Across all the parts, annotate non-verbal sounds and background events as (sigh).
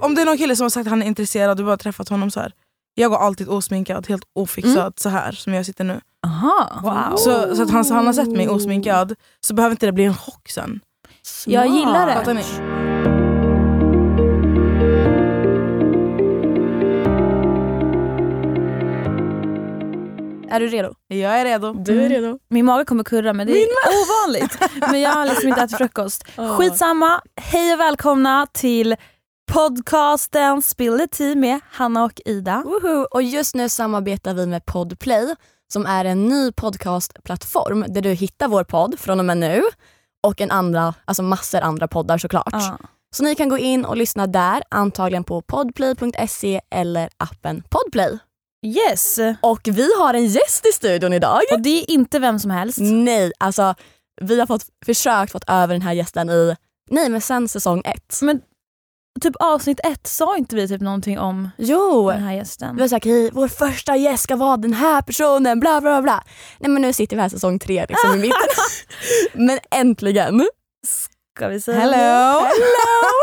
Om det är någon kille som har sagt att han är intresserad och du bara har träffat honom så här. Jag går alltid osminkad, helt ofixad Mm. så här som jag sitter nu. Aha. Wow. Så, så att han, så han har sett mig osminkad så behöver inte det bli en chock sen. Jag gillar Fattar det. ni? Är du redo? Jag är redo. Du är redo. Min mage kommer kurra men det är ovanligt. Men jag har liksom inte ätit (laughs) frukost. Ja. Skitsamma, hej och välkomna till podcasten Spill the tea med Hanna och Ida. Woho! Och just nu samarbetar vi med Podplay som är en ny podcastplattform där du hittar vår podd från och med nu och en andra, alltså massor andra poddar såklart. Ja. Så ni kan gå in och lyssna där, antagligen på podplay.se eller appen Podplay. Yes, Och vi har en gäst i studion idag. och det är inte vem som helst. Nej, alltså vi har fått, försökt fått över den här gästen i, nej men sen säsong ett. Men typ avsnitt ett sa inte vi typ någonting om Jo! den här Vi gästen. var såhär, "Hej, vår första gäst ska vara den här personen, bla bla bla. Nej men nu sitter vi här säsong tre liksom i mitten. (laughs) men äntligen! Ska vi säga Mm. Hello!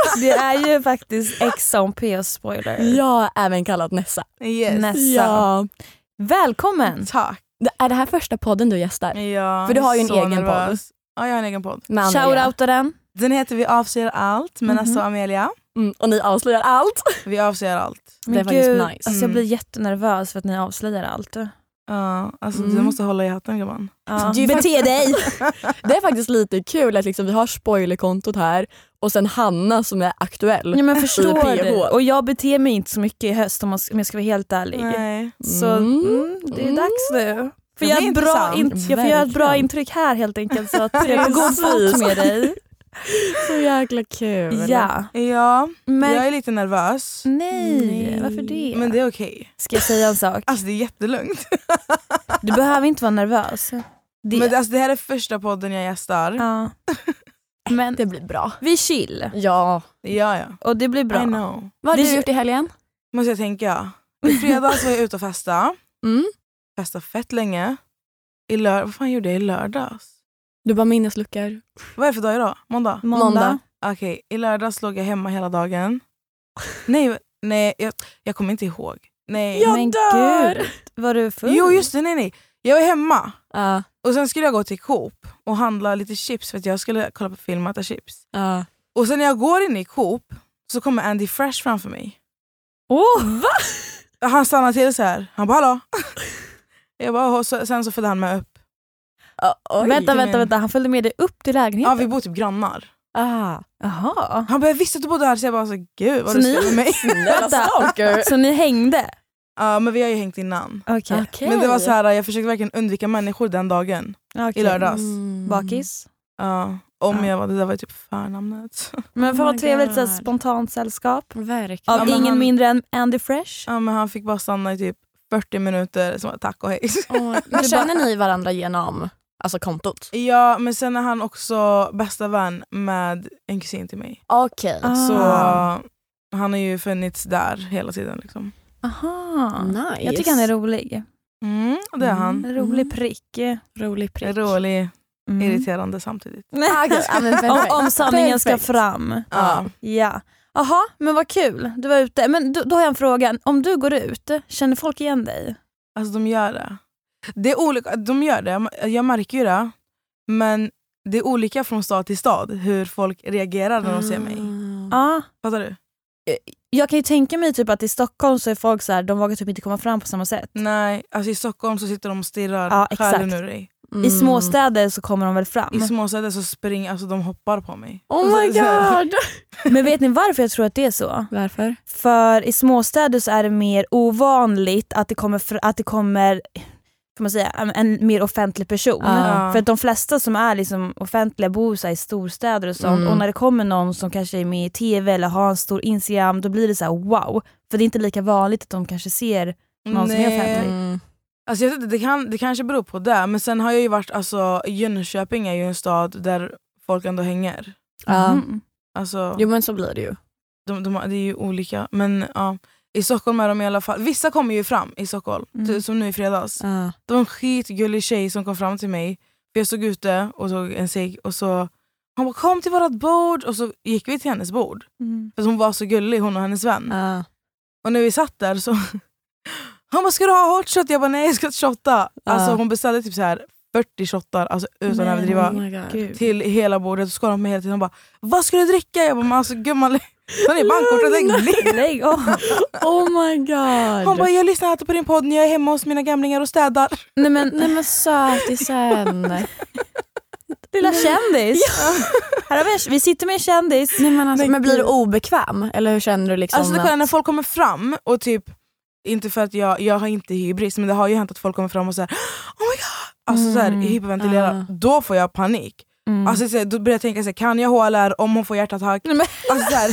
(laughs) det? Det är ju faktiskt Ex on PS spoiler. Jag även kallad Nessa. Yes. Nästa. Ja. Välkommen! Tack. Det- Är det här första podden du gästar? Ja, För du har ju en så egen podd. Ja, jag har en egen podd. Med Andrea. Shoutouta den. Den heter Vi avslöjar allt med Mhm. Nessa och Amelia. Mm, och ni avslöjar allt. Vi avslöjar allt. Det är faktiskt nice. Alltså jag Mm. blir jättenervös för att ni avslöjar allt. Ja, alltså, Du Mm. måste hålla i hatten gumman. Ja. Du bete dig! (laughs) det är faktiskt lite kul att liksom, vi har spoilerkontot här och sen Hanna som är aktuell. (laughs) Ja, men förstår PH. du? Och jag beter mig inte så mycket i höst om man- om jag ska vara helt ärlig. Nej. Så Mm. mm, det är Mm. dags nu. Får Det jag, blir ett bra intressant. int- jag får göra ett bra Verkligen. intryck här helt enkelt så att (laughs) jag får god fot med dig. Så jäkla kul. Ja. Ja, Men jag är lite nervös. nej. Nej. varför det? Men det är okej. Ska jag säga en sak? Alltså det är jättelugnt. Du behöver inte vara nervös. Det. Men, alltså, det här är första podden jag gästar. ja. (laughs) Men Det blir bra. vi chill Ja. Ja, ja. och det blir I bra. know. Vad har Vi- du gjort i helgen? Måste jag tänka. I fredags var jag ute och festa. Mm. Festa fett länge. I lör- Vad fan gjorde jag i lördags? Du bara minnesluckor. Vad är det för dag idag? Måndag? Mm. Måndag. Okej, i lördags låg jag hemma hela dagen. Nej, nej jag, jag kommer inte ihåg. Nej. Jag Men dör! gud, var du full? Jo just det, nej nej. Jag var hemma Ja. och sen skulle jag gå till Coop och handla lite chips för att jag skulle kolla på film och äta chips. Ja. Och sen när jag går in i Coop så kommer Andy Fresh framför mig. Åh, va? Han stannar till så här. han bara hallå. (laughs) jag bara, och så, sen så följde han med upp. oj. Vänta, vänta, men- vänta. Han följde med dig upp till Ja lägenheten? vi bor typ grannar. Ah. Jaha. Han bara jag visste att du bodde här så jag bara så, gud vad Så du ni- ser med mig. (laughs) Jävla stalker. Så ni hängde? Ja men vi har ju hängt innan. Okej. Okej. Men det var så här, jag försökte verkligen undvika människor den dagen. I lördags. Mm. Bakis? Ja, om Ja. jag var, det där var ju typ förnamnet. (laughs) Men fan Oh vad my trevligt God. såhär, spontant sällskap. Verkligen. Av men ingen han- mindre än Andy Fresh. Ja, men han fick bara stanna i typ 40 minuter, så var det tack och hej. (laughs) Oj. Men känner ni varandra genom alltså kontot? Ja, men sen är han också bästa vän med en kusin till mig. Okej. Så Ah. han har ju funnits där hela tiden. Liksom. Aha. Nice. Jag tycker han är rolig. Mm, och det är han. En rolig prick. rolig prick. Rolig, (laughs) Mm. irriterande samtidigt. (laughs) Ah, okej. Ja, men Om, perfekt. om sanningen ska Perfekt. fram. Ja. Ja. Jaha, men vad kul. Du var ute. Men då, då har jag en fråga. Om du går ut, känner folk igen dig? Alltså de gör det. Det är olika, de gör det, jag märker ju det. Men det är olika från stad till stad hur folk reagerar när de ser mig. Mm. Ah. Ja. Fattar du? Jag kan ju tänka mig typ att i Stockholm så är folk så här, de vågar typ inte komma fram på samma sätt. Nej, alltså i Stockholm så sitter de och stirrar Ja, exakt. Mm. själen ur dig. Mm. I småstäder så kommer de väl fram. I småstäder så springer alltså de hoppar på mig. Alltså, Oh my Så- så här. god. Men vet ni varför jag tror att det är så? (laughs) Varför? För i småstäder så är det mer ovanligt att det kommer, fr- att det kommer får man säga, en, en mer offentlig person. Ja. För att de flesta som är liksom offentliga bor så här i storstäder och sånt Mm. och när det kommer någon som kanske är med i TV eller har en stor Instagram då blir det så här wow. För det är inte lika vanligt att de kanske ser (laughs) någon som är offentlig. Mm. Alltså jag vet inte, det, kan, det kanske beror på det, men sen har jag ju varit, alltså Jönköping är ju en stad där folk ändå hänger. Ja. Mm. Alltså, Jo men så blir det ju. de, de, det är ju olika. Men ja, i Stockholm är de i alla fall, vissa kommer ju fram i Stockholm, Mm. ty- som nu i fredags. Ah. Det var en skitgullig tjej som kom fram till mig, för jag stod ute och tog en cigg och så Hon bara kom till vårt bord och så gick vi till hennes bord. Mm. För hon var så gullig hon och hennes vän. Ah. Ja. Och när vi satt där så... (laughs) Hon bara “ska du ha hot shot?” Jag bara “nej jag ska inte shotta”. Alltså Ja. hon beställde typ så här 40 shottar alltså, utan att Nej. överdriva. Oh my god. Gud. Till hela bordet och skålade med hela tiden. Hon bara “vad ska du dricka?” Jag bara “men alltså gumman, (laughs) ta ner bankkortet lägg ner”. Lägg av. Oh my god. Hon bara “jag lyssnar alltid på din podd när jag är hemma hos mina gamlingar och städar”. Nej men (laughs) Nej men sötisen. Nej lilla kändis. Här har vi, en- vi sitter med en kändis. men alltså, men blir du obekväm? Eller hur känner du liksom? Alltså det kolla, när folk kommer fram och typ, inte för att jag, jag har inte hybris men det har ju hänt att folk kommer fram och säger “oh my god”. Alltså så här, Mm, hyperventilerar. ja. Då får jag panik. Mm. Alltså, så, här, då börjar jag tänka, så här, kan jag HLR om hon får hjärtattack? Nej, men- Alltså, så här,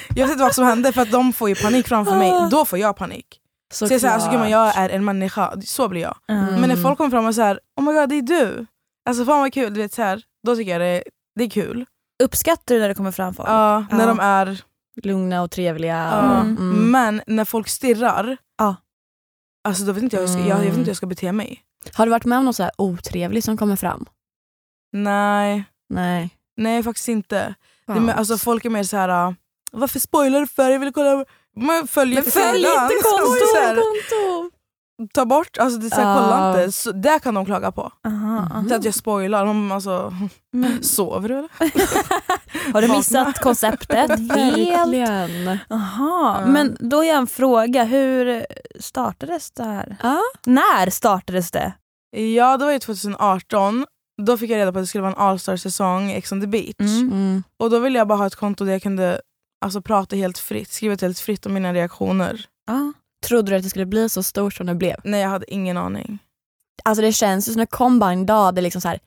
(laughs) jag vet inte vad som händer för att de får ju panik framför mig, Ah. då får jag panik. Så, jag, är så här, alltså, gumman, jag är en människa, så blir jag. Mm. Men när folk kommer fram och säger oh my god det är du, alltså fan vad kul, du vet, så här, då tycker jag det, det är kul. Uppskattar du när det kommer fram folk? Ja, när Ja. de är Lugna och trevliga. Ja. och- Mm. Men när folk stirrar, Ja. alltså, då vet inte jag, hur jag, ska, jag, jag vet inte hur jag ska bete mig. Har du varit med om något så här otrevligt som kommer fram? Nej, Nej. nej faktiskt inte. Det, är mer- alltså, folk är mer så här. "Ah, varför spoilar du för? Jag vill kolla... Man följer Men följ sidan." alltså, inte Så kontot! så här, ta bort, alltså det är så här, kolla Ja. inte. Så, där kan de klaga på. Aha, aha. Så att jag spoilar. De, alltså, Men- sover du eller? Har du missat konceptet? Helt. Verkligen. Aha. Ja. Men då har jag en fråga. Hur startades det här? Ja. När startades det? Ja, det var ju 2018. Då fick jag reda på att det skulle vara en All-star-säsong i Ex on the beach. Mm. Och då ville jag bara ha ett konto där jag kunde alltså, prata helt fritt, skriva helt fritt om mina reaktioner. Ja. Trodde du att det skulle bli så stort som det blev? Nej, jag hade ingen aning. Alltså det känns ju som när kom bara en dag, det är liksom så här,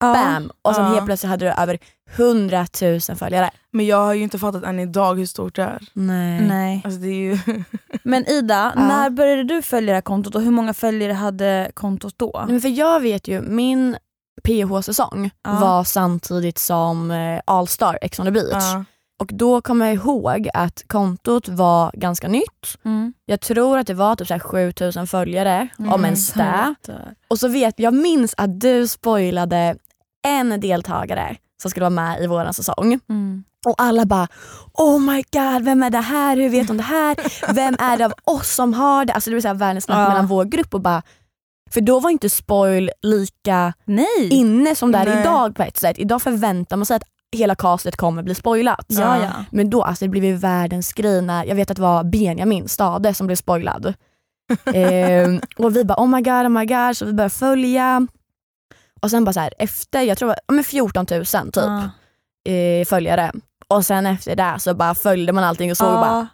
bam! Och sen Ja. helt plötsligt hade du över 100 000 följare. Men jag har ju inte fattat än idag hur stort det är. Nej. Nej. Alltså, det är ju Men Ida, Ja. när började du följa det här kontot och hur många följare hade kontot då? Men för jag vet ju, min PH-säsong Ja. var samtidigt som eh, All Star Ex on the Beach. Ja. Och då kommer jag ihåg att kontot var ganska nytt. Mm. Jag tror att det var typ så här 7000 följare, om Mm. ens det. Och så vet jag, minns att du spoilade en deltagare som skulle vara med i våran säsong. Mm. Och alla bara oh my god, vem är det här? Hur vet hon det här? Vem är det av oss som har det? Alltså det var så här världens snack Ja. mellan vår grupp och bara för då var inte spoil lika Nej! inne som det är Nej. idag på ett sätt. Idag förväntar man sig att hela castet kommer bli spoilat. ja, ja. Men då alltså det blev ju världens grej när, jag vet att det var Benjamin Stade som blev spoilad. (laughs) ehm, och vi bara oh my god, oh my god, så vi började följa. Och sen bara så här, efter, jag tror det var ja, men 14 000 typ Ja. eh, följare. Och sen efter det så bara följde man allting och såg Ja. bara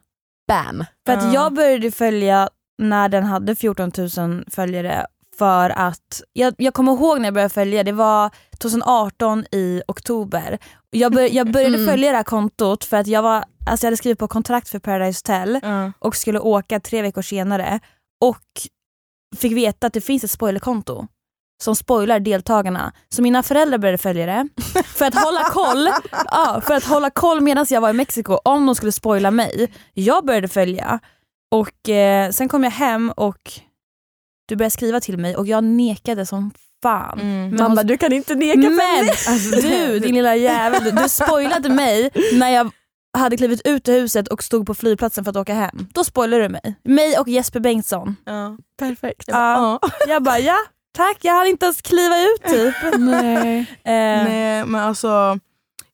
bam. För att Ja. jag började följa när den hade 14 000 följare för att, jag, jag kommer ihåg när jag började följa, det var 2018 i oktober. Jag, bör, jag började Mm. följa det här kontot för att jag, var, alltså jag hade skrivit på kontrakt för Paradise Hotel Ja. och skulle åka tre veckor senare och fick veta att det finns ett spoilerkonto som spoilar deltagarna. Så mina föräldrar började följa det (laughs) för att hålla koll ja, för att hålla koll medan jag var i Mexiko om de skulle spoila mig. Jag började följa och eh, sen kom jag hem och du började skriva till mig och jag nekade som fan. Mm. Men hon- du kan inte neka Men mig. Alltså, du din lilla jävel, du- du spoilade mig när jag hade klivit ut ur huset och stod på flygplatsen för att åka hem. Då spoilade du mig. Mig och Jesper Bengtsson. Ja. Perfekt. Ja. jag bara ja, tack jag hann inte ens kliva ut typ. Nej. Eh, Nej, men alltså,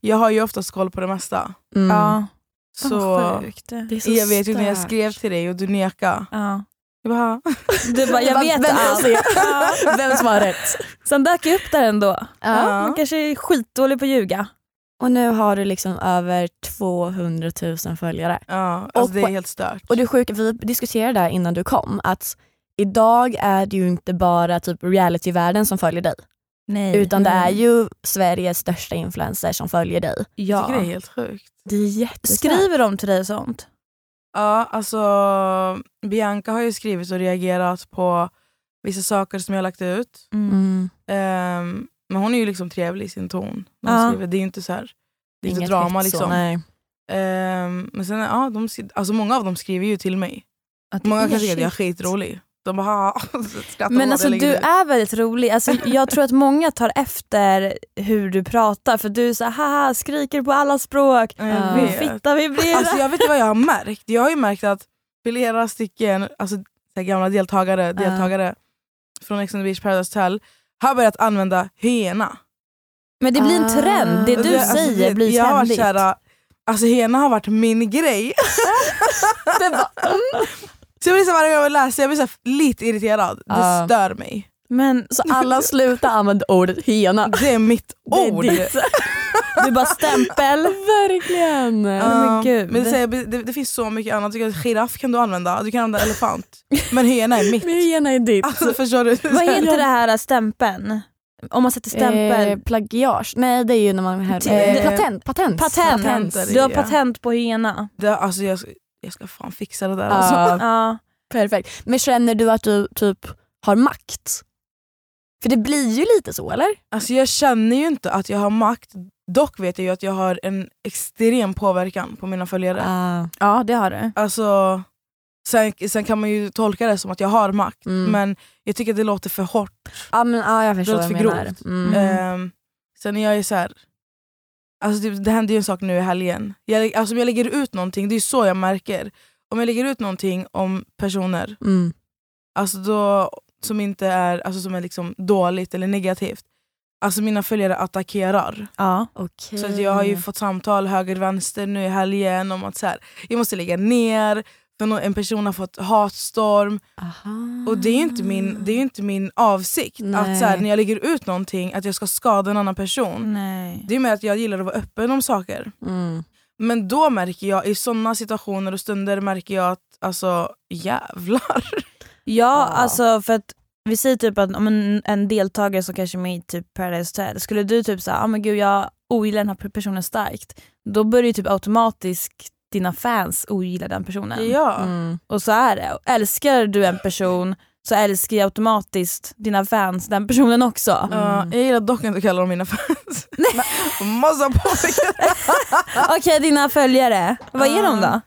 jag har ju oftast koll på det mesta. Mm. Ja. Så Vad sjukt. Det är så jag vet ju när jag stört. (laughs) skrev till dig och du nekade. Ja. Jag bara, Du bara, jag bara, vet vänta och allt. se. Ja. Vem som har rätt. Sen dök jag upp där ändå. Ja. Ja. Man kanske är skitdålig på att ljuga. Och nu har du liksom över 200 000 följare. ja, alltså, Och det på- är helt stört. Och det sjuka, vi diskuterade det här innan du kom, att idag är det ju inte bara typ realityvärlden som följer dig. Mm. Nej. Utan det är ju Sveriges största influencer som följer dig. Jag tycker det är ja. helt sjukt. Det är jätteskönt. Skriver de till dig och sånt? Ja, alltså Bianca har ju skrivit och reagerat på vissa saker som jag har lagt ut. Mm. Ehm, men hon är ju liksom trevlig i sin ton. När hon Ja. skriver. Det är ju inte så här, det är inte Inget drama hets så, liksom. nej. Ehm, men sen, ja, de, skri- alltså många av dem skriver ju till mig. Att det Många är kanske tycker att jag är sjukt. skitrolig. De bara "Haha", (laughs) skrattar Men åt alltså det, lägger du ut. är väldigt rolig. Alltså, jag tror att många tar efter hur du pratar för du är så här, haha skriker på alla språk. Ja, Ehm, jag Min vet. fitta vibrerar. Mm. Alltså jag vet inte vad jag har märkt. Jag har ju märkt att flera stycken alltså, så här gamla deltagare, deltagare från Ex on the beach, Paradise Hotel har börjat använda hyena. Men det blir en Ah. trend, det du Det- alltså, säger det- blir jag har varit trendigt. såhär, alltså hyena har varit min grej. (laughs) Det var- Så jag blir såhär, varje gång jag läser jag blir såhär, lite irriterad. Det Ja. stör mig. Men (laughs) Så alla slutar använda ordet hena. Det är mitt ord. (laughs) det är ditt. Du bara stämpel. (laughs) Verkligen. Ja, men gud. men det, säger- det, det finns så mycket annat. Jag tycker att Giraff kan du använda, du kan använda elefant. (laughs) Men hyena är mitt. Men hena är ditt. Alltså förstår du? Vad heter det här äh, stämpeln? Om man sätter stämpel. Eh, plagiage. Nej det är ju när man... Här, Ty- eh, patent. Patent. patent. patent. Du har patent på hyena. Det, alltså jag, jag ska fan fixa det där. Alltså. Ja, (laughs) Ja. perfekt. Men känner du att du typ har makt? För det blir ju lite så eller? Alltså, jag känner ju inte att jag har makt, dock vet jag ju att jag har en extrem påverkan på mina följare. ja det har du. Alltså, sen, sen kan man ju tolka det som att jag har makt, Mm. men jag tycker att det låter för hårt. Ja men ja, jag förstår Det vad låter du för menar. grovt. Mm. Ehm, sen är jag ju så här, alltså typ, det händer ju en sak nu i helgen. Jag, alltså, om jag lägger ut någonting, det är ju så jag märker. Om jag lägger ut någonting om personer Mm. alltså då, som inte är, alltså som är liksom dåligt eller negativt, alltså mina följare attackerar. Ja. Okej. Så att jag har ju Mm. fått samtal höger vänster nu i helgen om att så här, jag måste lägga ner, för nå- en person har fått hatstorm. Aha. Och det är ju inte min, det är ju inte min avsikt att så här, Nej. när jag lägger ut någonting att jag ska skada en annan person. Mm. Nej. Det är mer att jag gillar att vara öppen om saker. Mm. Men då märker jag, i sådana situationer och stunder märker jag att alltså jävlar. Ja, Ja. alltså för att vi säger typ att om en, en deltagare som kanske är med i typ Paradise Hotel, skulle du typ säga ah, men gud jag ogillar den här personen starkt, då börjar ju typ automatiskt dina fans ogilla den personen. (laughs) Ja. Mm. Och så är det. Och Älskar du en person så älskar ju automatiskt dina fans den personen också. Ja, jag gillar dock inte att kalla dem mina fans. (laughs) Massa påpekanden. Okej dina följare, vad är de då? Alltså,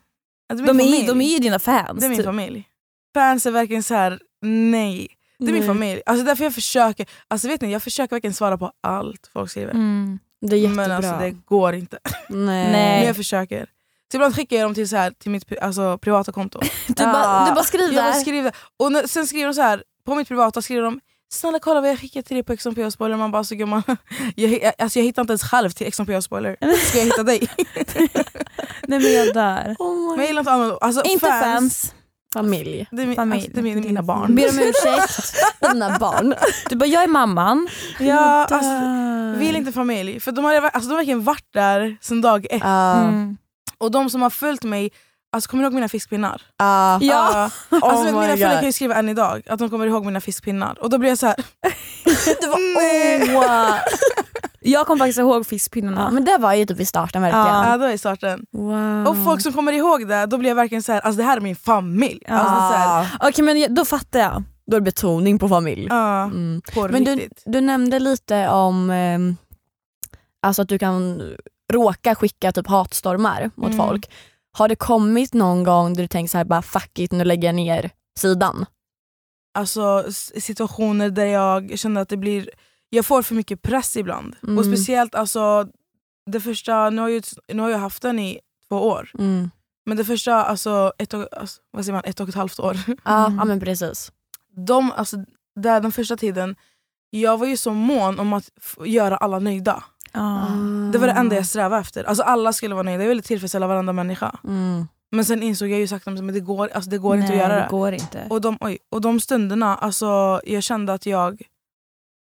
min De är, familj. de är ju dina fans. Det är min typ. familj. Fans är verkligen så här. nej. Det är min Nej. familj. Alltså därför jag försöker, alltså vet ni, jag försöker verkligen svara på allt folk skriver. Mm. Det är jättebra. men alltså det går inte. Nej. Nej. Men jag försöker. Så ibland skickar jag dem till, så här, till mitt pri- alltså, privata konto. Du, bara, Ja. du bara skriver. jag skriver, och när, sen skriver de så här, på mitt privata skriver de Snälla kolla vad jag skickat till dig på XMP och spoiler. Man bara, så gumman, (laughs) jag, jag- alltså, jag hittar inte ens själv till XMP och spoiler. Ska jag hitta dig? Nej men jag dör. Oh my Men jag gillar inte att använda- alltså, Inte fans. Familj. Det är, min, Familj. alltså, det är min, mina barn. Ber om ursäkt. (laughs) Dina barn. Du bara jag är mamman. Ja, alltså, vill inte familj. För de har, alltså, de har verkligen varit där sedan dag ett. Ah, Mm. Och de som har följt mig, alltså, kommer du ihåg mina fiskpinnar? Ja. Ja. alltså, vet, Ah, oh my mina följare God. kan ju skriva än idag att de kommer ihåg mina fiskpinnar. Och då blir jag (laughs) så här. Mm. Det var, nej. Wow. Jag kommer faktiskt ihåg fiskpinnarna. ja, men det var ju typ i starten verkligen. Ja, då är starten. Wow. Ah. Och folk som kommer ihåg det, då blir jag verkligen så här, alltså det här är min familj. Alltså, så här, Okej men jag- då fattar jag. Då är det betoning på familj. ja, Mm. ah, på Men du, riktigt. du nämnde lite om ehm, alltså att du kan råka skicka typ hatstormar mot Mm. folk. Har det kommit någon gång där du tänkt så här, bara fuck it, nu lägger jag ner sidan? Alltså s- situationer där jag känner att det blir, jag får för mycket press ibland. Mm. Och speciellt alltså, det första, nu har, jag, ju- nu har jag haft den i två år. Mm. Men det första alltså, ett, och, alltså, vad säger man, ett och ett halvt år, Ja, Mm. ja men precis. de, alltså, där den första tiden, jag var ju så mån om att f- göra alla nöjda. Det var det Mm. enda jag strävade efter. Alltså, alla skulle vara nöjda, jag ville tillfredsställa varenda människa. Mm. Men sen insåg jag ju sakta men det går, alltså, det går Nej, inte att göra det. det går inte. Och de, oj, och de stunderna, alltså, jag kände att jag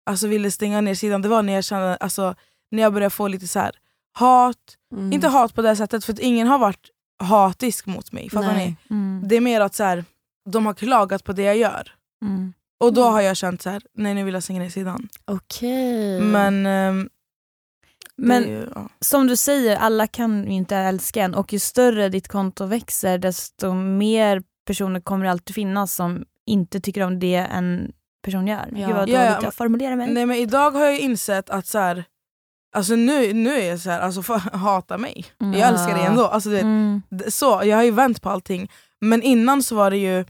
alltså, ville stänga ner sidan. Det var när jag kände, alltså, när jag började få lite så här hat. Mm. Inte hat på det här sättet, för att ingen har varit hatisk mot mig. Fattar ni? Nej. Mm. Det är mer att så här, de har klagat på det jag gör. Mm. Och då har jag känt så här, nej nu vill jag stänga ner sidan. Okej. Men, ehm, Men det är ju, ja. som du säger, alla kan ju inte älska en och ju större ditt konto växer desto mer personer kommer det alltid finnas som inte tycker om det en person gör. Ja. Gud vad dåligt Ja, ja, men- jag formulerar mig. nej, men idag har jag insett att så här, alltså, nu, nu är jag så här, alltså, fan, (laughs) hata mig. Mm. Jag älskar dig ändå. Alltså, du vet, Mm. D- så, jag har ju vänt på allting. Men innan så var det ju,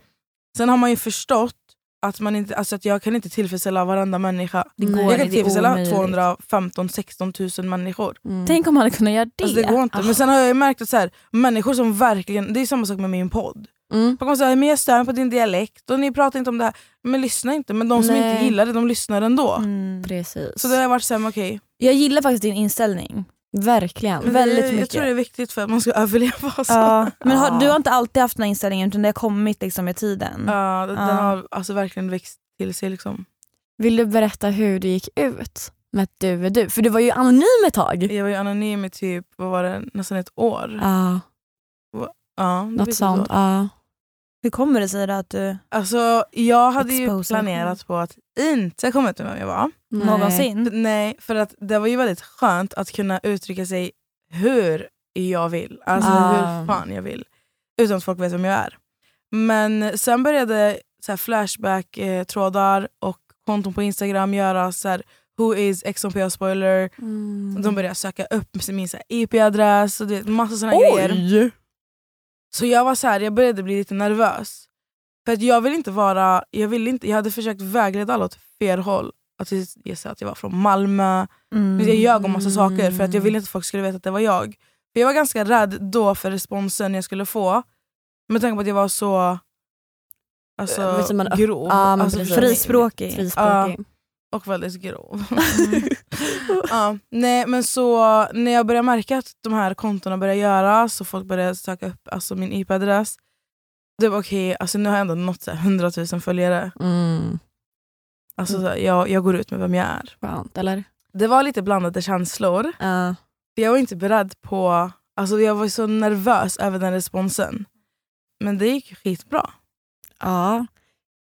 sen har man ju förstått att, man inte, alltså att jag kan inte tillfredsställa varenda människa. Det går jag inte, kan det är tillfredsställa omöjligt. 215 16 000 människor. Tänk om man hade kunnat göra det. Alltså det går inte. Men sen har jag ju märkt att så här, människor som verkligen, det är samma sak med min podd. Mm. Man kommer säga men jag stör mig på din dialekt och ni pratar inte om det här. Men lyssna inte. Men de som Nej. inte gillar det, de lyssnar ändå. Mm. Precis. Så det har jag varit såhär, men okej. Jag gillar faktiskt din inställning. Verkligen. Men- Väldigt jag, jag mycket. tror det är viktigt för att man ska (laughs) överleva. Alltså. Men har, Ja. du har inte alltid haft den här inställningen utan det har kommit liksom med tiden. Ja, den Ja. har alltså verkligen växt till sig. Liksom. Vill du berätta hur det gick ut med att du är du? För du var ju anonym ett tag. Jag var ju anonym i typ, vad var det, nästan ett år. Ja, Ja, det vet något jag sånt. då. Ja. Hur kommer det sig då att du Alltså, jag hade ju Exposing. planerat på att inte komma ut med vem jag var. Nej. någonsin... Nej, för att det var ju väldigt skönt att kunna uttrycka sig hur jag vill. Alltså Ah. hur fan jag vill. Utan att folk vet vem jag är. Men sen började så här, Flashback-trådar och konton på Instagram göra så här, Who is XMPA spoiler? Mm. De började söka upp min så här, IP-adress och du vet, massa såna här grejer. Så jag var så här, jag började bli lite nervös. För att jag vill inte vara, jag vill inte, jag hade försökt vägleda alla åt fel håll. Att jag sa att jag var från Malmö, Mm. Alltså, jag ljög om massa saker för att jag Mm. ville inte att folk skulle veta att det var jag. För Jag var ganska rädd då för responsen jag skulle få. Med tanke på att jag var så Äh, alltså, vet du, man- grov. Ja, men alltså, precis. Frispråkig. Frispråkig. och väldigt (laughs) grov. ja, nej, men så när jag började märka att de här kontona började göras och folk började söka upp alltså, min IP-adress. Det var okej, alltså, nu har jag ändå nått så här 100 000 följare. Mm. Alltså, så här, jag, jag går ut med vem jag är. Skönt, eller? Det var lite blandade känslor. Ja. Jag var inte beredd på... Alltså jag var så nervös över den responsen. Men det gick skitbra. ja.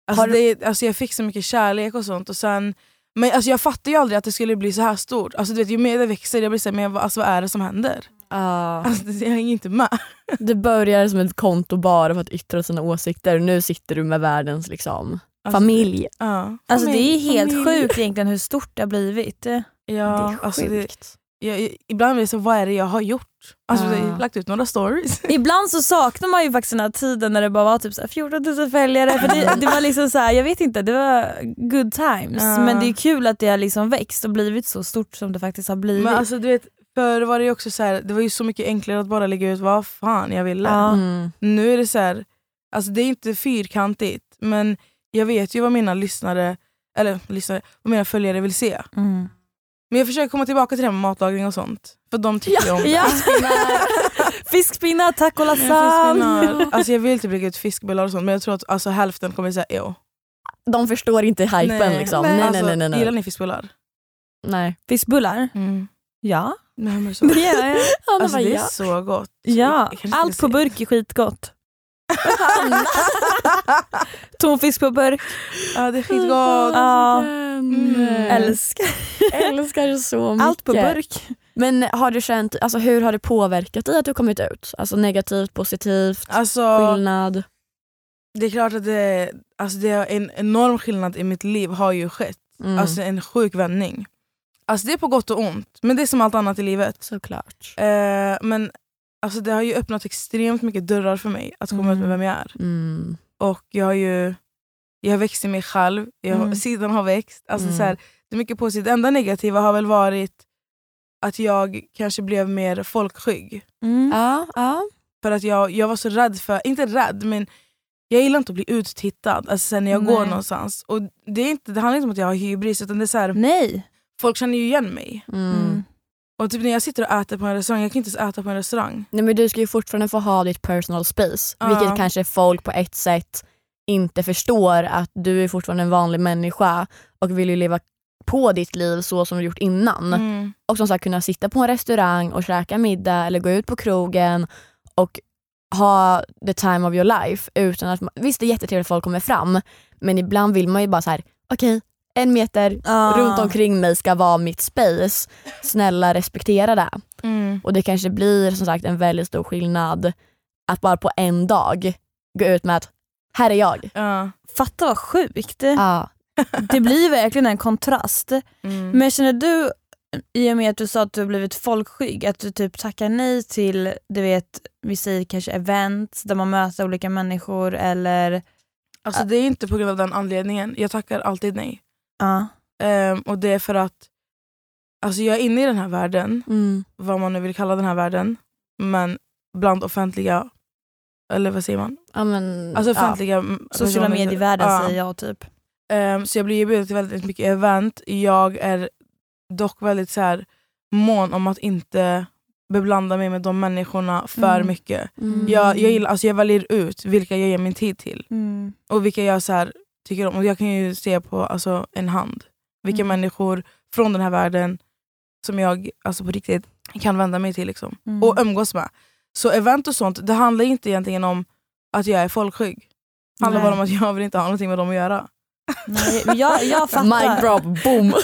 Alltså Har det, alltså jag fick så mycket kärlek och sånt. Och sen, men alltså jag fattade ju aldrig att det skulle bli så här stort. Alltså du vet, ju mer det växer, jag blir så här, men vad- alltså vad är det som händer? Ja. Alltså, jag hänger inte med. Det började som ett konto bara för att yttra sina åsikter. Nu sitter du med världens liksom, Alltså, familj. Ja. Alltså det är Familj, helt familj. sjukt egentligen hur stort det har blivit. Ja, det är alltså det, sjukt. jag, jag, ibland blir det så, vad är det jag har gjort? Alltså Ja. jag har lagt ut några stories. Ibland så saknar man ju faktiskt den här tiden när det bara var typ så här 14 000 följare. För det, det var liksom så här, jag vet inte, det var good times. Ja. Men det är kul att det har liksom växt och blivit så stort som det faktiskt har blivit. Men alltså du vet, förr var det ju också så här, det var ju så mycket enklare att bara lägga ut vad fan jag ville. ja. Mm. Nu är det så här, alltså det är inte fyrkantigt men jag vet ju vad mina lyssnare eller lyssnare, vad mina följare vill se. Mm. Men jag försöker komma tillbaka till det här med matlagning och sånt. För de tycker ju om det. Ja. Fiskpinnar, taco Men fiskbullar- lasagne. Alltså jag vill typ lägga ut fiskbullar och sånt men jag tror att alltså, hälften kommer säga jo. (laughs) De förstår inte hypen liksom. Nej, Alltså, nej, nej, nej. Gillar nej. ni fiskbullar? nej. Fiskbullar? Mm. Ja. Nej, men (laughs) så. Det gör jag. Hanna Alltså, bara, det är ja. så gott. Jag- Ja, jag kanske allt ska se- på burk (laughs) är skitgott. Tonfisk på burk, Ja det är skitgott. Ja. Mm. Mm. älskar. älskar det så mycket. Allt på burk. Men har du känt, alltså, hur har det påverkat dig att du kommit ut? Alltså negativt, positivt, Alltså, skillnad? det är klart att det, alltså, det är en enorm skillnad i mitt liv har ju skett. Mm. Alltså en sjuk vändning. Alltså det är på gott och ont, men det är som allt annat i livet. Såklart. Eh, men alltså det har ju öppnat extremt mycket dörrar för mig att komma Mm. ut med vem jag är. Mm. Och jag har ju jag har växt i mig själv, jag, har- Mm. sidan har växt. Alltså Mm. så här, det är mycket positivt. Det enda negativa har väl varit att jag kanske blev mer folkskygg. Mm. Ja, ja. För att jag, jag var så rädd för, inte rädd men jag gillar inte att bli uttittad alltså sen när jag går Nej. någonstans. Och det, är inte, det handlar inte om att jag har hybris utan det är så här, Nej. folk känner ju igen mig. Mm. Och typ när jag sitter och äter på en restaurang, jag kan inte ens äta på en restaurang. Nej, men du ska ju fortfarande få ha ditt personal space, Ja. vilket kanske folk på ett sätt inte förstår att du är fortfarande en vanlig människa och vill ju leva på ditt liv så som du gjort innan. Mm. Och som sagt kunna sitta på en restaurang och käka middag eller gå ut på krogen och ha the time of your life. Utan att man, visst det är jättetrevligt att folk kommer fram men ibland vill man ju bara så här: okej en meter Ah. runt omkring mig ska vara mitt space. Snälla respektera det. Mm. Och det kanske blir som sagt en väldigt stor skillnad att bara på en dag gå ut med att här är jag. Ja. Fatta vad sjukt. Ja. Det blir verkligen en kontrast. Mm. Men känner du, i och med att du sa att du har blivit folkskygg, att du typ tackar nej till, du vet, vi säger kanske event där man möter olika människor eller Alltså, det är inte på grund av den anledningen. Jag tackar alltid nej. Ja. Ehm, och det är för att alltså, jag är inne i den här världen, Mm. vad man nu vill kalla den här världen, men bland offentliga, eller vad säger Mm, man? Ja, men, Alltså ja. offentliga m- Sociala personer. medievärlden Ja. säger jag typ. Ehm, så jag blir ju bjuden till väldigt mycket event. Jag är dock väldigt så här, mån om att inte beblanda mig med de människorna för Mm. mycket. Mm. Jag, jag, gillar, alltså jag väljer ut vilka jag ger min tid till och vilka jag så här, tycker om. Och jag kan ju se på alltså, en hand vilka Mm. människor från den här världen som jag alltså, på riktigt kan vända mig till liksom, och Mm. umgås med. Så event och sånt, det handlar inte egentligen om att jag är folkskygg. Det handlar Nej. bara om att jag vill inte ha någonting med dem att göra. Nej, men jag, (laughs) jag Mic fattar. drop, boom!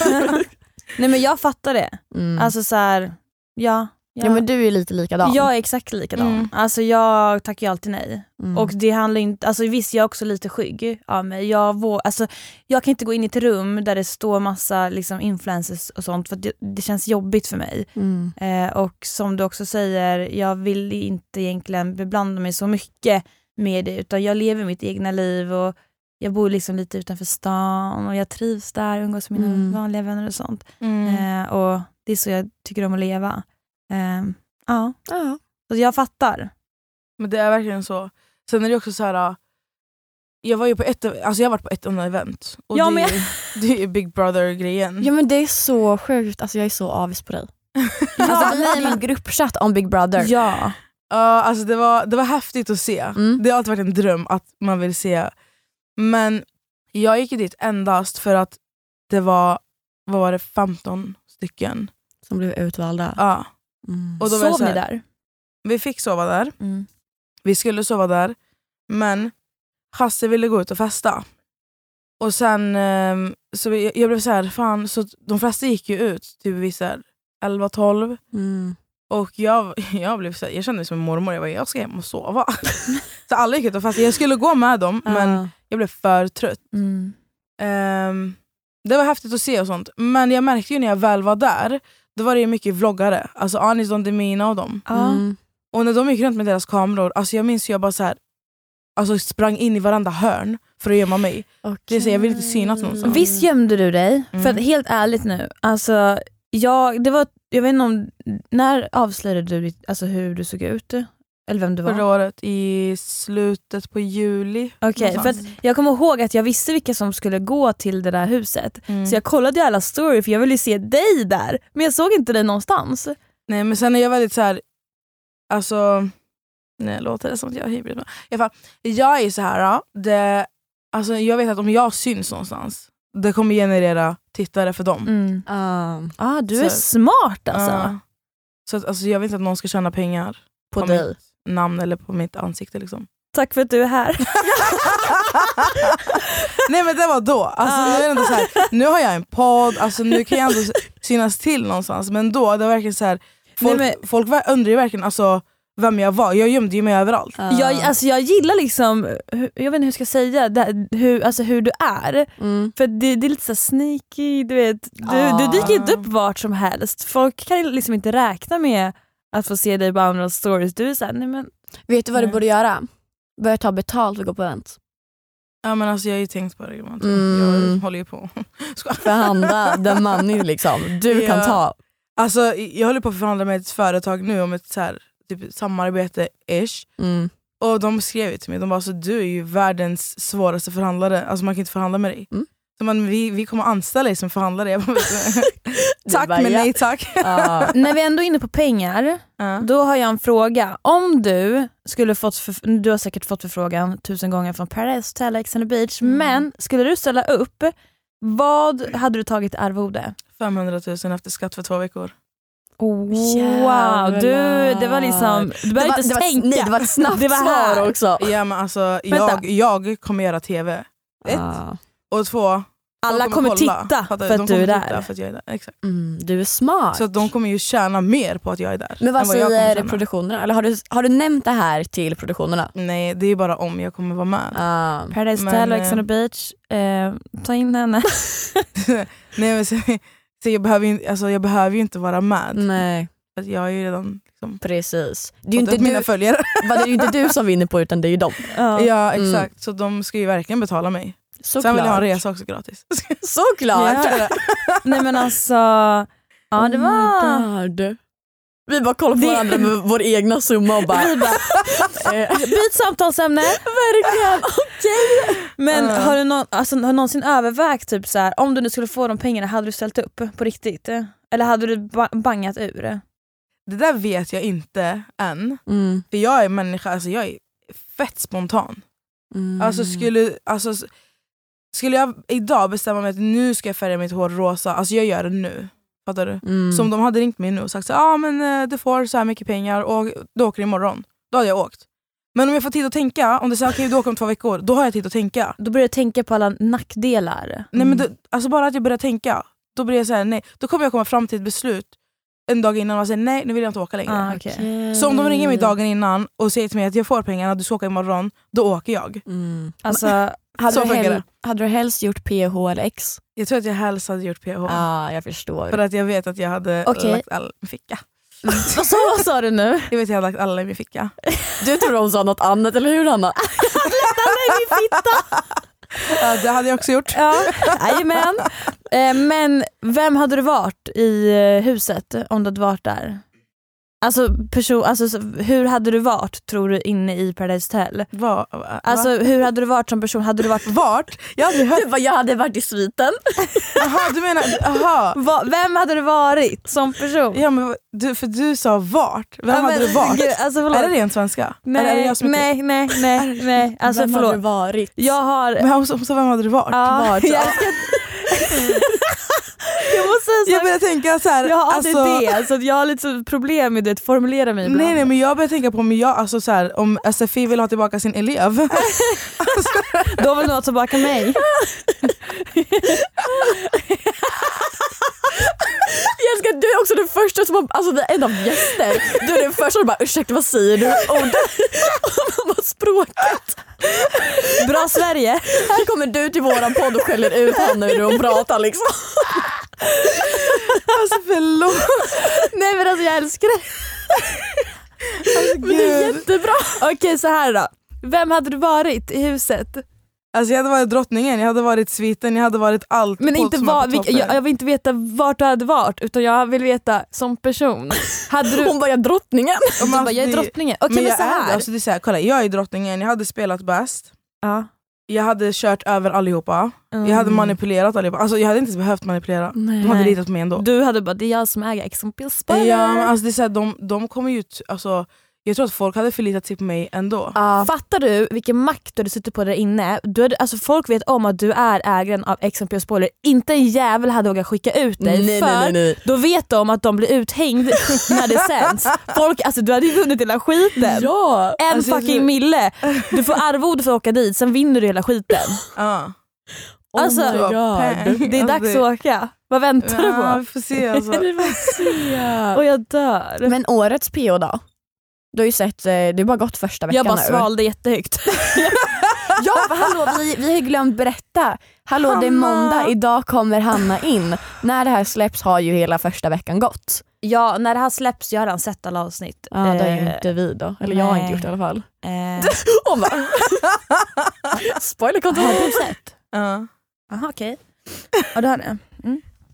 (laughs) Nej men jag fattar det. Mm. Alltså så här, ja. ja. men du är lite likadan. Jag är exakt likadan. Mm. Alltså jag tackar ju alltid nej. Mm. Och det handlar inte, alltså visst jag är också lite skygg av mig. Jag, vå, alltså, jag kan inte gå in i ett rum där det står massa liksom, influencers och sånt för att det, det känns jobbigt för mig. mm. Eh, och som du också säger, jag vill inte egentligen beblanda mig så mycket med det utan jag lever mitt egna liv och jag bor liksom lite utanför stan och jag trivs där, umgås med mina Mm. vanliga vänner och sånt. Eh, och det är så jag tycker om att leva. Eh, ja, Ja. så jag fattar. Men det är verkligen så. Sen är det också så här. äh, Jag var ju på ett, alltså jag har varit på ett enda event. Och Ja, det, men är, ju- det är ju Big Brother-grejen. ja men det är så sjukt, alltså, jag är så avis på dig. (laughs) Alltså, vi hade ju en gruppchatt om Big Brother. Ja. Ja, alltså det, var, det var häftigt att se. Mm. Det har alltid varit en dröm att man vill se. Men jag gick ju dit endast för att det var, vad var det, 15 stycken. Som blev utvalda. Ja. Mm. Och då var jag Sov så ni här, där? Vi fick sova där, vi skulle sova där, men Hasse ville gå ut och festa. Och sen, ehm, så jag, jag blev så här, fan, så att de flesta gick ju ut typ vid så här 11-12. Mm. Och jag, (laughs) jag, blev så här, jag kände mig som en mormor, jag bara, jag ska hem och sova. så alla gick ut och festade, jag skulle gå med dem men Ja. Mm. jag blev för trött. Ehm, det var häftigt att se och sånt, men jag märkte ju när jag väl var där, då var det ju mycket vloggare. Alltså Anis Don Demina och dem. Ja. Mm. Och när de gick runt med deras kameror, alltså jag minns hur jag bara så här, alltså sprang in i varenda hörn för att gömma mig. Det är så, jag vill inte synas någonstans. Visst gömde du dig? Mm. För att helt ärligt nu, alltså, jag, det var, jag vet inte om, när avslöjade du ditt, alltså, hur du såg ut? Eller vem du var? Förra året, i slutet på juli. Okej, för någonstans. att jag kommer ihåg att jag visste vilka som skulle gå till det där huset. Mm. Så jag kollade ju alla story för jag ville ju se dig där. Men jag såg inte dig någonstans. Nej men sen är jag väldigt så här. alltså... Nej låter det som att jag är hybrid? men I alla fall, jag är så här. ja, Det, alltså, jag vet att om jag syns någonstans, det kommer generera tittare för dem. Ah, Ah, du är Mm. Så- smart alltså. Ja. så att, alltså, jag vill inte att någon ska tjäna pengar på på dig. mitt namn eller på mitt ansikte. Liksom. (laughs) Tack för att du är här. Nej men det var då. Alltså, nu, är det ändå så här, nu har jag en podd, alltså, nu kan jag ändå synas till någonstans. Men då, det var verkligen så här, folk, Nej, folk var- undrade ju verkligen alltså, vem jag var. Jag gömde ju mig överallt. Ah. Jag, alltså, jag gillar liksom, hur- jag vet inte hur jag ska säga, det, här- hur, alltså, hur du är. Mm. För det, det är lite så här sneaky, du vet. Du, Ja. du dyker inte upp vart som helst. Folk kan ju liksom inte räkna med att få se dig på andra stories. Du är såhär, nej men Vet du vad Nej. du borde göra? Börja ta betalt för att gå på event. Ja, men alltså, jag har ju tänkt på det gumman. Mm. Jag håller ju på. Förhandla the money liksom. Du Ja. kan ta. Alltså, jag håller på att förhandla med ett företag nu om ett så här, typ, samarbete-ish. Mm. Och de skrev ju till mig, de bara alltså, du är ju världens svåraste förhandlare, alltså man kan inte förhandla med dig. Mm. Så man, vi, vi kommer anställa dig som förhandlare. Jag bara, (laughs) Du tack bara, men ja. nej tack. (laughs) Ah. (laughs) När vi ändå är inne på pengar, (laughs) Ja. då har jag en fråga. Om du skulle fått, förf- du har säkert fått förfrågan tusen gånger från Paradise Hotel, Ex on the Beach, Mm. men skulle du ställa upp, vad hade du tagit i arvode? 500 000 efter skatt för två veckor. Oh, Wow, du, det var liksom, du behöver inte det var, tänka. nej, det var ett snabbt Det var här. svar också. Ja, men alltså, Vänta. jag, jag kommer göra tv. Ett. Ah. Och två, Alla de kommer kolla. titta Fattar för De att du är kommer titta där. För att jag är där. Exakt. Mm, du är smart. Så att de kommer ju tjäna mer på att jag är där. men än vad jag kommer säger tjäna. produktionerna? Eller har, du, har du nämnt det här till produktionerna? Nej, det är bara om jag kommer vara med. Ah. Paradise Men, Hotel och Ex on eh, the Beach, eh, ta in (laughs) henne. Nej, men så, så jag, behöver ju, alltså, jag behöver ju inte vara med. Nej. För att jag är ju redan liksom, Precis. Det är ju fått inte upp mina du, följare. (laughs) vad, det är ju inte du som vinner på utan det är ju dem. Ja. Ja Mm. exakt, så de ska ju verkligen betala mig. Såklart. Sen vill jag ha en resa också gratis. (laughs) Såklart. Ja. Nej men alltså, ja det Oh var... my God. Vi bara kollar på varandra med vår egna summa och bara... (laughs) Eh, Byt samtalsämne. (laughs) Verkligen. Men Ja. har du någon, alltså, har du någonsin övervägt typ så här, om du nu skulle få de pengarna, hade du ställt upp på riktigt? Eller hade du ba- bangat ur? Det där vet jag inte än. mm, För jag är människa, alltså jag är fett spontan. mm. Alltså skulle, alltså, s- skulle jag idag bestämma mig att nu ska jag färga mitt hår rosa, alltså jag gör det nu. Fattar du? Mm. Så om de hade ringt mig nu och sagt så, ah, men eh, du får så här mycket pengar och du åker imorgon. Då hade jag åkt. Men om jag får tid att tänka, om det säger okej du åker om två veckor, då har jag tid att tänka. Då började jag tänka på alla nackdelar. Nej, Mm. men det, alltså bara att jag börjar tänka, då blir jag så här, nej. Då kommer jag komma fram till ett beslut en dag innan och säga nej, nu vill jag inte åka längre. Ah, okej. Så om de ringer mig dagen innan och säger till mig att jag får pengarna, du ska åka imorgon, då åker jag. Mm. Alltså, Hade, Så du funkar hel- det. hade du helst gjort PH eller X? Jag tror att jag helst hade gjort PH. ah, jag förstår. För att jag vet att jag hade Okej. lagt alla i min ficka. (laughs) vad sa, vad sa du nu? Jag vet att jag hade lagt alla i min ficka. Du tror hon sa något annat, eller hur (laughs) Hanna? Ja, det hade jag också (laughs) gjort. Ja, jajamän. Eh, men vem hade du varit i eh, huset om du hade varit där? Alltså, person, alltså så- hur hade du varit tror du inne i Paradise Hotel? Va, va, Alltså hur hade du varit som person? Hade (laughs) du varit... Vart? Jag hade hört... Du bara, jag hade varit i sviten. Jaha, du menar... Aha. Va, vem hade du varit som person? Ja, men, vad- du, för du sa vart. Vem Ja, men hade du varit? gud, alltså, förlåt. Är det rent svenska? Nej, Eller är typ- det jag som inte- nej, nej, nej, nej. Alltså Vem hade du förlåt. varit? Jag har... Men hon sa- hon sa vem hade du varit? Ja, varit? jag, ska... jag måste Jag säga så här, börjar tänka så här, jag har alltså, ADD så att jag har lite så problem med det, att formulera mig ibland. Nej, nej men jag börjar tänka på om, jag, alltså, så här, om SFI vill ha tillbaka sin elev. Då vill du ha tillbaka mig. Jag älskar att du är också den första som har, alltså det är en av gäster, du är den första som bara ursäkta vad säger du? Ord. Och man bara (laughs) språket. Bra Sverige. Här kommer du till våran podd och skäller ut henne hur hon pratar liksom. alltså förlåt. Nej men alltså jag älskar det. Alltså, Men det är gud. jättebra. Okej så här då. Vem hade du varit i huset? Alltså, jag hade varit drottningen, jag hade varit sviten, jag hade varit allt. Men på inte som var, är på vilk- toppen. jag, jag vill inte veta vart du hade varit utan jag vill veta som person. Hade du... Hon bara jag är drottningen. Du Men bara, alltså, jag är det- drottningen. Okej men men, jag så är det. här. Alltså, det är så här. Kolla, jag är drottningen, jag hade spelat bäst. ja. Jag hade kört över allihopa. Mm. Jag hade manipulerat allihopa. Alltså, jag hade inte ens behövt manipulera. Nej. De hade Nej. litat på mig ändå. Du hade bara, det är jag som äger Exxon Spoiler. Ja, men alltså, det är så här, de, de kommer ju... t- Alltså, jag tror att folk hade förlitat sig på mig ändå. Ah. Fattar du vilken makt du hade suttit på där inne? Du hade, alltså folk vet om att du är ägaren av XMP Spoiler. Inte en jävel hade vågat skicka ut dig för nej. då vet de att de blir uthängd när det sänds. Folk, alltså, du hade ju vunnit hela skiten. Ja. En Alltså, jag fucking tror- mille. Du får arvode för att åka dit, sen vinner du hela skiten. Ja. Alltså, Oh Alltså, my god. Det är dags att åka. Vad väntar du Ja, på? vi får se alltså. (laughs) Och jag dör. Men årets PO då? Du har ju sett, eh, det har bara gått första veckan jag bara nu. svalde jättehögt. Ja, för hallå, vi, vi har ju glömt berätta. Hallå det är Hanna. måndag, idag kommer Hanna in. När det här släpps har ju hela första veckan gått. Ja, när det här släpps, jag har redan sett alla avsnitt. Ja det har Eh, ju inte vi då, eller jag har inte nej. gjort det i alla fall. eh, Hon bara... Spoiler control. har (laughs) du sett? Ja. Jaha okej. Ja det har ni.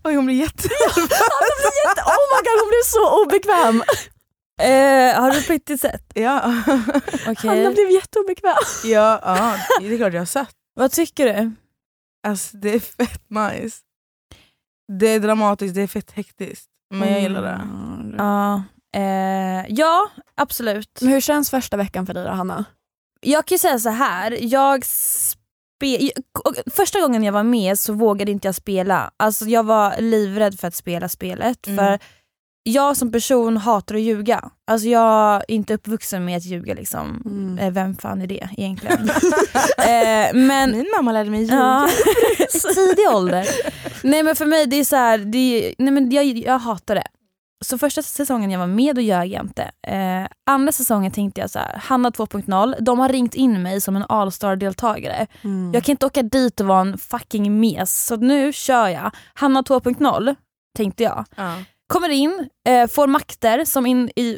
Oj, hon blir jätte... Oh my god hon blev så obekväm. Eh, har du på riktigt sett? (laughs) Ja. (laughs) Okej. Hanna blev jätteobekväm. Ja, ja, det är klart jag har sett. Vad tycker du? Alltså, det är fett nice. Det är dramatiskt, det är fett hektiskt. Men jag gillar Mm. det. Ja, eh, ja, absolut. Men hur känns första veckan för dig då Hanna? Jag kan ju säga så här. Jag spe- och första gången jag var med så vågade inte jag spela. Alltså jag var livrädd för att spela spelet. Mm. För Jag som person hatar att ljuga. Alltså jag är inte uppvuxen med att ljuga. Liksom. Mm. Eh, Vem fan är det (laughs) egentligen? eh, men Min mamma lärde mig Ja, (laughs) i tidig ålder. Nej men för mig det är så här, det är, nej men jag, jag hatar det. Så första säsongen jag var med, då ljög jag inte. Eh, andra säsongen tänkte jag så här, Hanna 2.0, de har ringt in mig som en Allstar-deltagare. Mm. Jag kan inte åka dit och vara en fucking mes, så nu kör jag. Hanna 2.0, tänkte jag. Ja. Kommer in, eh, får makter som in i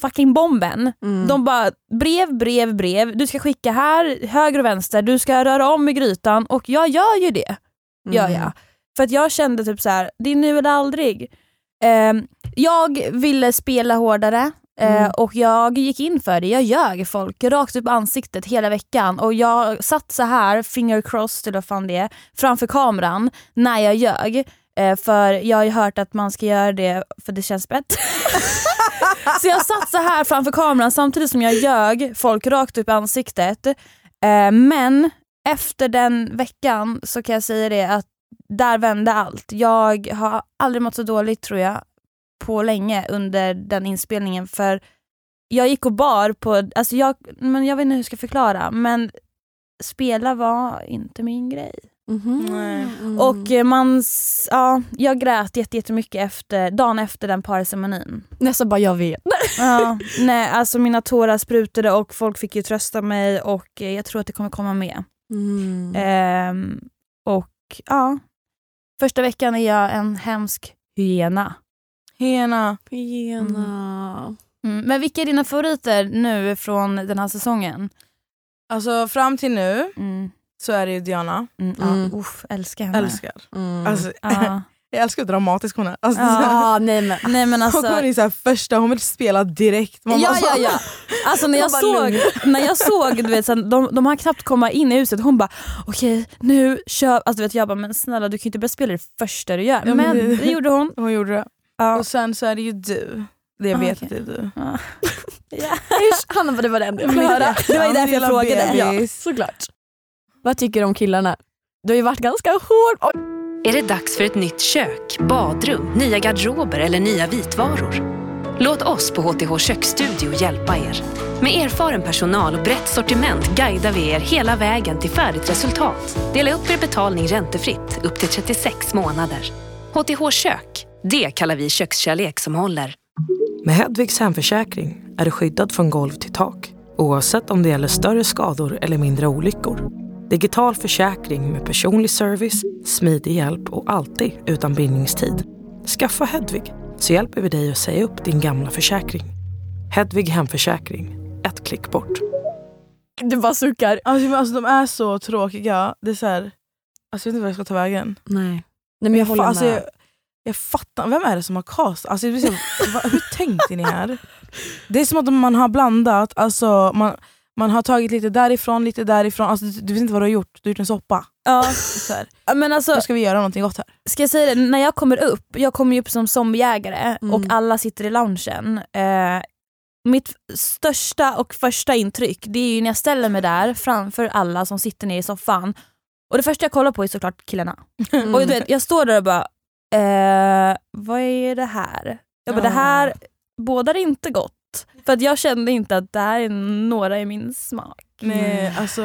fucking bomben. Mm. De bara brev, brev, brev. Du ska skicka här, höger och vänster. Du ska röra om i grytan och jag gör ju det. Gör jag. För att jag kände typ så här: det är nu eller aldrig. Ehm, jag ville spela hårdare eh, Mm. och jag gick in för det. Jag ljög folk rakt upp i ansiktet hela veckan och jag satt så här, finger crossed eller vad fan det är, framför kameran när jag ljög. Eh, för jag har ju hört att man ska göra det för det känns bättre. (laughs) så jag satt så här framför kameran samtidigt som jag ljög folk rakt upp i ansiktet. Eh, men efter den veckan så kan jag säga det att där vände allt. Jag har aldrig mått så dåligt tror jag på länge under den inspelningen för jag gick och bar på, alltså jag, men jag vet inte hur jag ska förklara men spela var inte min grej. Mhm. Nej. Mm. Och eh, man, s- ja, jag grät jätte- jättemycket efter, dagen efter den parceremonin. Nästan bara jag vet. Ja, nej, alltså mina tårar sprutade och folk fick ju trösta mig och eh, jag tror att det kommer komma med. Mm. Ehm, och ja, första veckan är jag en hemsk hyena. Hena. Hyena. Mm. Men vilka är dina favoriter nu från den här säsongen? Alltså fram till nu Mm. så är det ju Diana. Mm. Mm. Ja, uff, älskar henne. Älskar. Mm. Alltså, Ja. jag älskar hur dramatisk hon är. Alltså, (laughs) Ja. Ah, nej men. Nej (laughs) men Hon alltså, kommer in så här första, hon vill spela direkt. Man Ja, bara så- ja, ja. Alltså när jag Hon bara, såg, när jag såg du vet, så här, de, de har knappt komma in i huset, hon bara okej nu kör, alltså, du vet, jag bara men snälla du kan ju inte börja spela det första du gör. Ja, men men det- det gjorde hon. Hon gjorde det. Ja. Och sen så är det ju du. Det jag Ah, vet okej. att det är du. Hanna bara, det var det enda jag Men- ville höra. Det var ju Ja, därför jag lilla frågade. bebis. Såklart. Vad tycker du om killarna? Du har ju varit ganska hård. Oj. Är det dags för ett nytt kök, badrum, nya garderober eller nya vitvaror? Låt oss på HTH Köksstudio hjälpa er. Med erfaren personal och brett sortiment guidar vi er hela vägen till färdigt resultat. Dela upp er betalning räntefritt upp till 36 månader. HTH Kök, det kallar vi kökskärlek som håller. Med Hedvigs hemförsäkring är du skyddad från golv till tak oavsett om det gäller större skador eller mindre olyckor. Digital försäkring med personlig service, smidig hjälp och alltid utan bindningstid. Skaffa Hedvig så hjälper vi dig att säga upp din gamla försäkring. Hedvig hemförsäkring, ett klick bort. Du bara suckar. Alltså, men alltså, de är så tråkiga. Det är så här, alltså, jag vet inte vad jag ska ta vägen. Nej. Nej men jag håller Fan, alltså, med. jag, jag fattar, vem är det som har cast? Alltså, jag blir så, va, hur tänkte ni här? Det är som att man har blandat, alltså, man, man har tagit lite därifrån, lite därifrån. Alltså, du, du vet inte vad du har gjort, du har gjort en soppa. Ja. Så här. Ja, Men (laughs) alltså, Nu ska vi göra någonting gott här. ska jag säga det, när jag kommer upp, jag kommer ju upp som zombiejägare Mm. och alla sitter i loungen. Eh, mitt största och första intryck det är ju när jag ställer mig där framför alla som sitter nere i soffan och det första jag kollar på är såklart killarna. Mm. Och du vet, jag står där och bara, eh, vad är det här? Jag bara, Ja. det här bådar inte gott. För att jag kände inte att det här är några i min smak. Nej, alltså,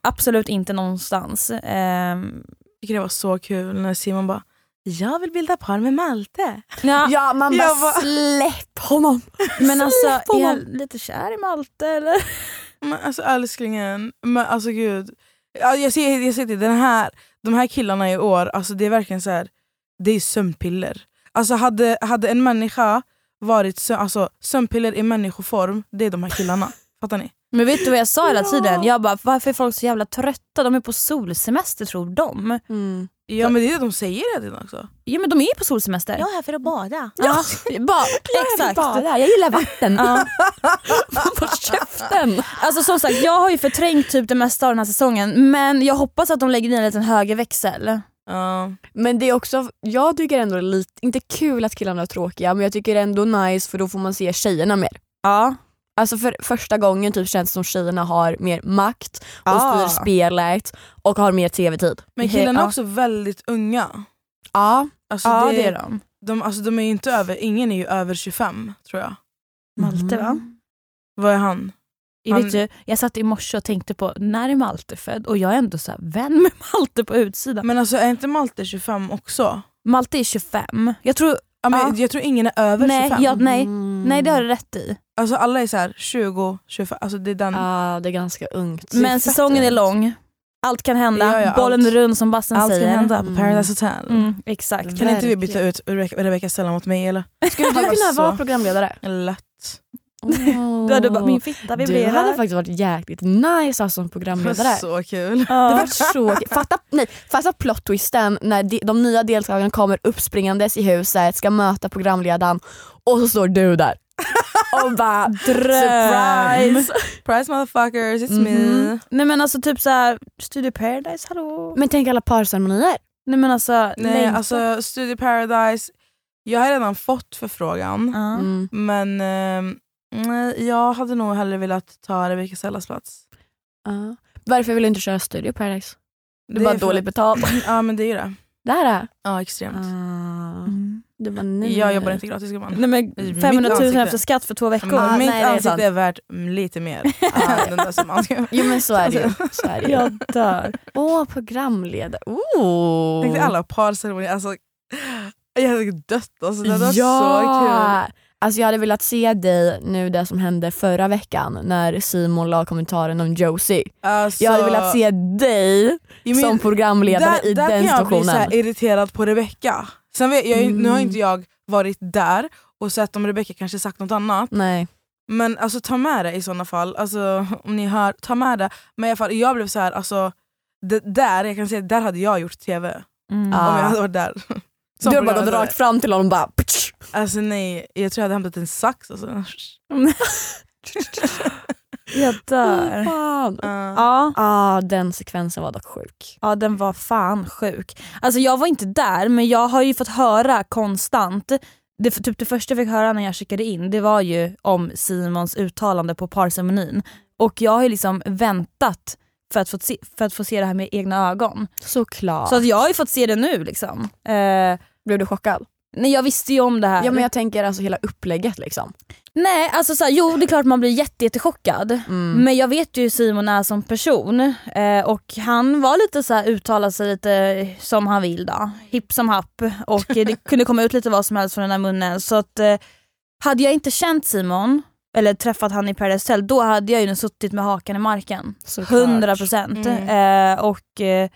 Absolut inte någonstans. Ehm, jag tycker det var så kul när Simon bara “jag vill bilda par med Malte”. ja, Ja man bara, Jag bara- släpp honom. men alltså, är honom. jag lite kär i Malte eller? Men alltså älsklingen, men alltså gud. Ja, Jag ser, jag ser det, den här, de här killarna i år, alltså det är verkligen så här, det är sömnpiller. Alltså hade, hade en människa varit sö, alltså, sömnpiller i människoform, det är de här killarna. Fattar ni? Men vet du vad jag sa hela tiden? Jag bara, varför är folk så jävla trötta? De är på solsemester tror de. Mm. Ja men det är det de säger hela tiden också. Ja men de är ju på solsemester. är här för att bada. Ja, bara, exakt. Bara, jag gillar vatten. Ja. (laughs) På käften. Alltså som sagt, jag har ju förträngt typ det mesta av den här säsongen men jag hoppas att de lägger in en liten högerväxel. Ja. Men det är också, jag tycker ändå det är lite, inte kul att killarna är tråkiga men jag tycker ändå nice för då får man se tjejerna mer. Ja. Alltså för första gången typ känns det som tjejerna har mer makt och Ah. styr spelet och har mer tv-tid. Men killarna är Ja. också väldigt unga. Ja. Alltså, ja det, det är de. de, alltså, de är ju inte över, ingen är ju över 25 tror jag. Malte va? Vad är han? Jag, vet Han- ju, jag satt i morse och tänkte på när är Malte född och jag är ändå så här, vän med (laughs) Malte på utsidan. Men alltså är inte Malte 25 också? Malte är 25. Jag tror, Ja, men, Ja. Jag tror ingen är över nej, 25. jag, nej, Mm. nej det har du rätt i. Alltså alla är så här 20, 25, alltså det är den. Ja, det är ganska ungt. Men säsongen är lång. Allt kan hända, Ja, ja, bollen allt. är rund som Bassen Allt säger. kan hända på Paradise Hotel. Mm, exakt. Kan inte vi byta ut Rebecca Rebecca Stella mot mig eller? Skulle du kunna Alltså. vara programledare? Lätt. (laughs) Du hade bara, min fitta Du vibrerar. hade faktiskt varit jäkligt nice alltså, som programledare. Så (laughs) kul. Det ja. var så kul. fatta, nej, fatta plot twisten när de, de nya deltagarna kommer uppspringandes i huset, ska möta programledaren och så står du där. Ah, Och bara surprise! Price motherfuckers, it's me. Mhm. Nej men alltså typ såhär, Studio Paradise, hallå? Men tänk alla parceremonier. Nej men alltså, Nej, längtan. alltså Studio Paradise. Jag har redan fått förfrågan. Ja. Mm. Men ehm, nej, jag hade nog hellre velat ta Rebecca Sellas plats. Varför vill du inte köra Studio Paradise? Det är Du är bara för- dåligt betalt. Ja men det är ju det. Det här är. Mm. Ja extremt. Du bara, nej. Ah. Jag jobbar inte gratis gumman. Nej men I mitt 500 000 ansikte. efter skatt för två veckor. Men Ah, mitt nej, det är ansikte sant. är värt mm, lite mer än den där som man (laughs) ska. Jo men så är det ju. Alltså. Så är det ju. Jag dör. Åh programledare. Ooh. Tänk dig alla parceremonier, alltså, jag hade dött alltså, det var så kul. Alltså jag hade velat se dig nu det som hände förra veckan när Simon la kommentaren om Josie. Alltså, Jag hade velat se dig jag men- som programledare där, i där den kan jag bli så situationen. Mm. här irriterad på Rebecca. Sen vet, jag, Nu har inte jag varit där och sett om Rebecca kanske sagt något annat. Nej. Men alltså ta med det i sådana fall. Alltså, om ni hör, ta med det. Men i alla fall, jag blev så här, alltså, det, där, jag kan säga, där hade jag gjort TV. Mm. Ja. Om jag hade varit (laughs) där. Som du hade bara gått programledare. rakt fram till honom och bara... ptsch. Alltså nej, jag tror jag hade hämtat en sax. Alltså. Uh, Jag dör. Fan. Ja. Ah, den sekvensen var dock sjuk. ja, den var fan sjuk. Alltså jag var inte där men jag har ju fått höra konstant, det, typ det första jag fick höra när jag checkade in det var ju om Simons uttalande på parceremonin. Och jag har ju liksom väntat för att få se, för att få se det här med egna ögon. Såklart. Så att jag har ju fått se det nu liksom. Eh, blev du chockad? nej jag visste ju om det här. Ja men jag tänker alltså hela upplägget liksom. Nej alltså så här, jo det är klart man blir jätte, jättechockad. Mm. Men jag vet ju hur Simon är som person eh, och han var lite så här uttalar sig lite som han vill då. Hipp som happ och eh, det (laughs) kunde komma ut lite vad som helst från den här munnen. Så att eh, hade jag inte känt Simon eller träffat han i Paradise Hotel då hade jag ju nu suttit med hakan i marken. Såklart. Mm. 100 procent. Eh, och eh,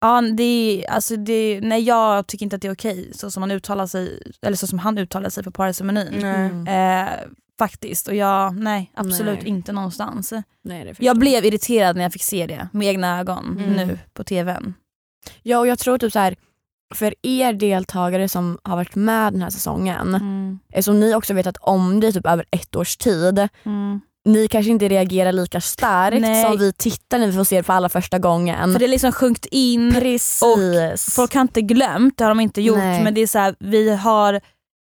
ja, det är, alltså det är, nej jag tycker inte att det är okej så som han uttalar sig, eller så som han uttalar sig på Paradise-menyn. nej. Mm. Eh, faktiskt och jag, nej absolut Nej. inte någonstans. Nej, det förstår Jag blev irriterad när jag fick se det med egna ögon Mm. nu på tvn. Ja och jag tror typ så här för er deltagare som har varit med den här säsongen, Mm. som ni också vetat om det i typ över ett års tid, ni kanske inte reagerar lika starkt Nej. som vi tittar när vi får se det för allra första gången. För det är liksom sjunkit in, Precis. folk har inte glömt, det har de inte gjort Nej. men det är så här, vi har